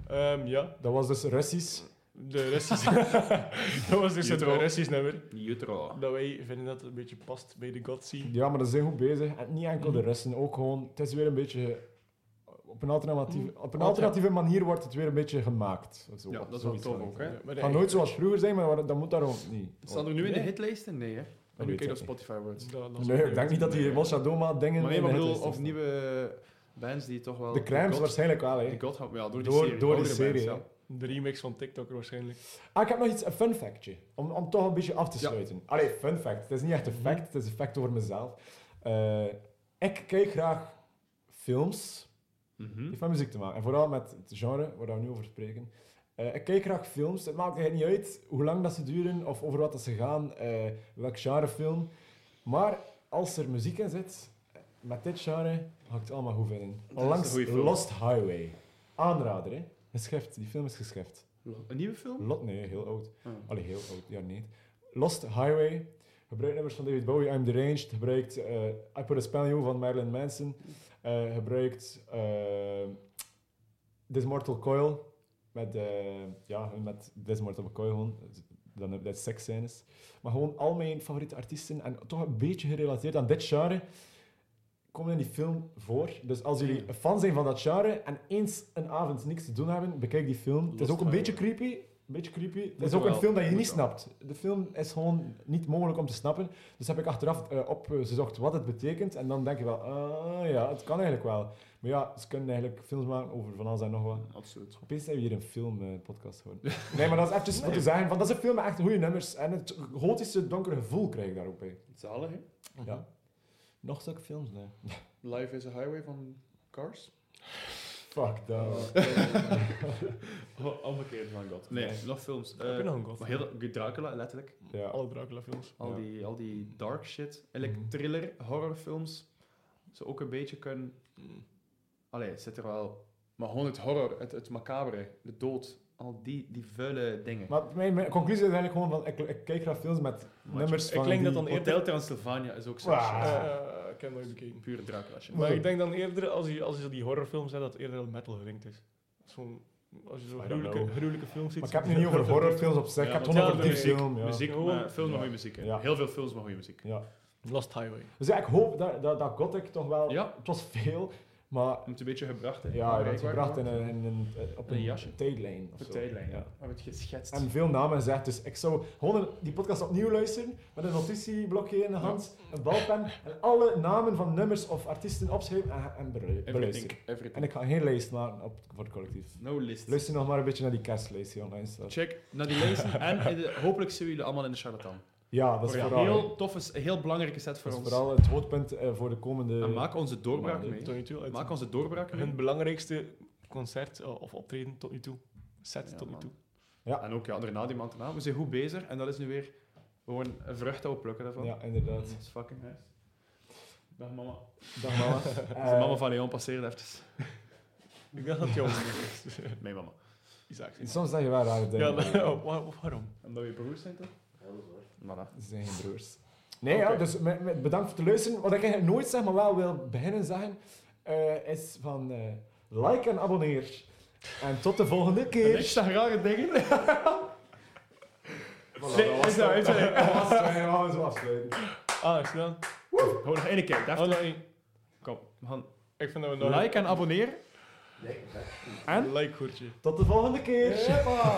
Speaker 1: Ehm, ja.
Speaker 2: Dat was dus Russisch.
Speaker 1: de rest
Speaker 2: [laughs]
Speaker 1: is... [laughs] dat was dus het
Speaker 3: Jutro.
Speaker 1: racistisch nummer.
Speaker 3: Nitro.
Speaker 1: Dat wij vinden dat het een beetje past bij de God scene.
Speaker 2: Ja, maar dat zijn goed bezig. En niet enkel de Russen, ook gewoon... Het is weer een beetje... eh, Op een alternatieve, op een
Speaker 1: Ja.
Speaker 2: alternatieve manier wordt het weer een beetje gemaakt. Zo,
Speaker 3: Ja, dat is wel
Speaker 2: zoiets
Speaker 3: tof
Speaker 2: van.
Speaker 3: ook, hè.
Speaker 1: Ja, maar
Speaker 2: Het gaat nooit zoals vroeger zijn, maar dat moet daarom niet.
Speaker 3: Staat er nu in de
Speaker 1: Nee.
Speaker 3: hitlijsten? Nee, hè? En nu
Speaker 2: weet
Speaker 3: kijk
Speaker 2: ik
Speaker 3: op Spotify wordt.
Speaker 1: Dat- dat is
Speaker 2: Nee,
Speaker 1: ook
Speaker 2: ik denk niet dat die Mosha Doma dingen...
Speaker 3: Maar nee, maar
Speaker 2: in
Speaker 3: ik
Speaker 2: de hitlist
Speaker 3: bedoel, of
Speaker 2: staan.
Speaker 3: nieuwe bands die toch wel...
Speaker 2: De crèmes
Speaker 3: God-
Speaker 2: waarschijnlijk wel, hè.
Speaker 3: Die God gaan- ja, door die
Speaker 2: Door-
Speaker 3: serie.
Speaker 2: door die
Speaker 3: oudere bands,
Speaker 2: serie,
Speaker 3: ja.
Speaker 1: De remix van TikTok waarschijnlijk.
Speaker 2: Ah, ik heb nog iets, een fun factje. Om, om toch een beetje af te
Speaker 3: Ja. Mhm.
Speaker 2: sluiten. Allee, fun fact. Het is niet echt een fact, het is een fact over mezelf. Eh, ik kijk graag films
Speaker 3: Mhm.
Speaker 2: die van muziek te maken. En vooral met het genre waar we nu over spreken. Eh, ik kijk graag films. Het maakt eigenlijk niet uit hoe lang dat ze duren of over wat dat ze gaan, eh, welk genre film. Maar als er muziek in zit, met dit genre, ga ik het allemaal goed vinden.
Speaker 3: is een
Speaker 2: Onlangs
Speaker 3: goeie film.
Speaker 2: Lost Highway. Aanrader, hè? Geschift. Die film is geschift.
Speaker 3: Een nieuwe film?
Speaker 2: Lot, nee, heel oud.
Speaker 3: Ah.
Speaker 2: Allee, heel oud, ja, niet. Lost Highway gebruikt nummers van David Bowie, I'm Deranged, gebruikt eh I Put a Spell on You van Marilyn Manson, eh, gebruikt eh, This Mortal Coil, met, eh, ja, met This Mortal Coil gewoon, dan heb je seks scènes. Maar gewoon al mijn favoriete artiesten, en toch een beetje gerelateerd aan dit genre, komen in die film voor. Dus als jullie fan zijn van dat genre en eens een avond niks te doen hebben, bekijk die film. het is
Speaker 3: Lost
Speaker 2: ook een beetje
Speaker 3: Highway.
Speaker 2: creepy, een beetje creepy. Het
Speaker 3: Moet
Speaker 2: is ook
Speaker 3: wel,
Speaker 2: een film dat je
Speaker 3: moet
Speaker 2: niet
Speaker 3: wel.
Speaker 2: snapt. De film is gewoon niet mogelijk om te snappen. Dus heb ik achteraf eh, opgezocht wat het betekent. En dan denk je wel, ah ja, het kan eigenlijk wel. Maar ja, ze kunnen eigenlijk films maken over van alles en nog wat.
Speaker 3: Absoluut.
Speaker 2: Opeens zijn we hier een filmpodcast [laughs] geworden. Nee, maar dat is eventjes wat te zeggen. Want dat is een film met echt goede nummers. En het gotische donkere gevoel krijg ik daar ook bij.
Speaker 3: Zalig, hè?
Speaker 2: Ja. Nog zulke films, nee.
Speaker 3: Life is a Highway van Cars?
Speaker 2: Fuck [laughs] dat.
Speaker 3: Oh, omgekeerd van God. Nee,
Speaker 2: Nee.
Speaker 3: nog films.
Speaker 1: Heb je
Speaker 3: Eh,
Speaker 1: nog een God?
Speaker 3: Maar heel Dracula, letterlijk.
Speaker 2: Ja.
Speaker 1: Alle Dracula films.
Speaker 3: Al,
Speaker 2: Ja.
Speaker 3: die, al die dark shit. Eigenlijk
Speaker 2: Mhm.
Speaker 3: thriller, horrorfilms. Ze ook een beetje kunnen... Allee, het zit er wel... Maar gewoon het horror, het, het macabere, de dood. Al die, die vuile dingen.
Speaker 2: Maar mijn, mijn conclusie is eigenlijk gewoon van, ik, ik kijk graag films met nummers
Speaker 1: ik
Speaker 2: van
Speaker 1: klink dat
Speaker 2: die-
Speaker 1: dan eerder-
Speaker 3: Hotel Transylvania is ook zo'n
Speaker 2: Wauw.
Speaker 3: shit.
Speaker 1: Eh, ik heb nooit bekeken.
Speaker 3: Puur Dracula shit.
Speaker 1: Maar ik denk dan eerder, als je, als je die horrorfilms hebt, dat het eerder al metal gelinkt is. Zo'n, als je zo'n
Speaker 2: I don't
Speaker 1: gruwelijke,
Speaker 2: know.
Speaker 1: gruwelijke films ziet.
Speaker 2: Maar ik heb het nu niet over horrorfilms op zich,
Speaker 3: Ja,
Speaker 2: ik heb het
Speaker 1: want
Speaker 2: gewoon over
Speaker 1: ja,
Speaker 2: die
Speaker 1: nee,
Speaker 2: film. Ja.
Speaker 3: Muziek,
Speaker 1: Gewoon-
Speaker 3: maar film
Speaker 2: Ja.
Speaker 3: maar goede muziek. hè.
Speaker 2: Ja.
Speaker 3: Heel veel films maar goede muziek.
Speaker 2: Ja.
Speaker 1: Lost Highway.
Speaker 2: Dus ja, ik hoop dat, dat, dat Gothic toch wel...
Speaker 3: Ja.
Speaker 2: Het was veel, maar
Speaker 3: Moet een beetje gebracht, hè.
Speaker 2: ja, dat
Speaker 3: Bereikbaar
Speaker 2: is gebracht in
Speaker 3: gemaakt.
Speaker 2: een, in een, eh, op
Speaker 3: In een
Speaker 2: een,
Speaker 3: jasje.
Speaker 2: tijdlijn. of
Speaker 3: Op
Speaker 2: zo.
Speaker 3: tijdlijn, ja. Heb het geschetst.
Speaker 2: En veel namen gezegd, dus ik zou gewoon een- die podcast opnieuw luisteren, met een notitieblokje in de hand, een balpen, en alle namen van nummers of artiesten opschrijven en, en beru- beluisteren.
Speaker 3: everything, everything.
Speaker 2: En ik ga geen lijst maken op, voor het collectief.
Speaker 3: No list.
Speaker 2: Luister nog maar een beetje naar die kerstlijst die online staat.
Speaker 3: Check naar die lijsten. en in de- hopelijk zien we jullie allemaal in de charlatan.
Speaker 2: Ja, dat is
Speaker 3: Voor een
Speaker 2: vooral,
Speaker 3: Oh heel toffe, een heel belangrijke set voor
Speaker 2: dat is
Speaker 3: ons.
Speaker 2: vooral het hoogtepunt eh, voor de komende...
Speaker 3: En maak onze doorbraak
Speaker 2: Maar,
Speaker 3: mee.
Speaker 1: Tot nu toe. Het,
Speaker 3: Maak onze doorbraak mee.
Speaker 1: hun belangrijkste concert eh, of optreden tot nu toe. Set
Speaker 3: Ja,
Speaker 1: tot nu
Speaker 3: man.
Speaker 1: toe.
Speaker 2: Ja.
Speaker 3: En ook ja, daarna die maand daarna. We zijn goed bezig en dat is nu weer gewoon een vrucht dat we plukken daarvan.
Speaker 2: Ja, inderdaad.
Speaker 3: Dat is fucking nice. Dag mama.
Speaker 2: Dag
Speaker 3: [laughs]
Speaker 2: mama. Eh,
Speaker 3: Als de mama van Leon passeerde even.
Speaker 1: Ik dacht dat jouw
Speaker 3: [laughs]
Speaker 1: is.
Speaker 3: Mijn mama.
Speaker 1: Isaac.
Speaker 2: Soms zeg je wel rare dingen. [laughs]
Speaker 1: Ja, maar- Oh, wa- waarom?
Speaker 3: Omdat we beroerd zijn toch?
Speaker 4: Heel zwaar.
Speaker 6: Voilà.
Speaker 2: Ze zijn geen broers. Nee, ja,
Speaker 6: Oké.
Speaker 2: dus me- me- bedankt voor het luisteren. Wat ik eigenlijk nooit zeg, maar wel wil beginnen zeggen, eh, is van eh, like en abonneer. En tot de volgende
Speaker 3: Ik
Speaker 2: keer.
Speaker 3: sta rare dingen. Nee,
Speaker 2: dat was
Speaker 3: is dat, is dat.
Speaker 2: [laughs] Dat was het, we gaan zo afsluiten.
Speaker 1: Ah, snel.
Speaker 6: Gewoon nog één keer.
Speaker 1: Oh, nee.
Speaker 6: Kom, we gaan
Speaker 1: Ik vind dat we nog...
Speaker 6: like en abonneer.
Speaker 4: Nee, dat-
Speaker 1: en? Like, goedje.
Speaker 2: Tot de volgende keer.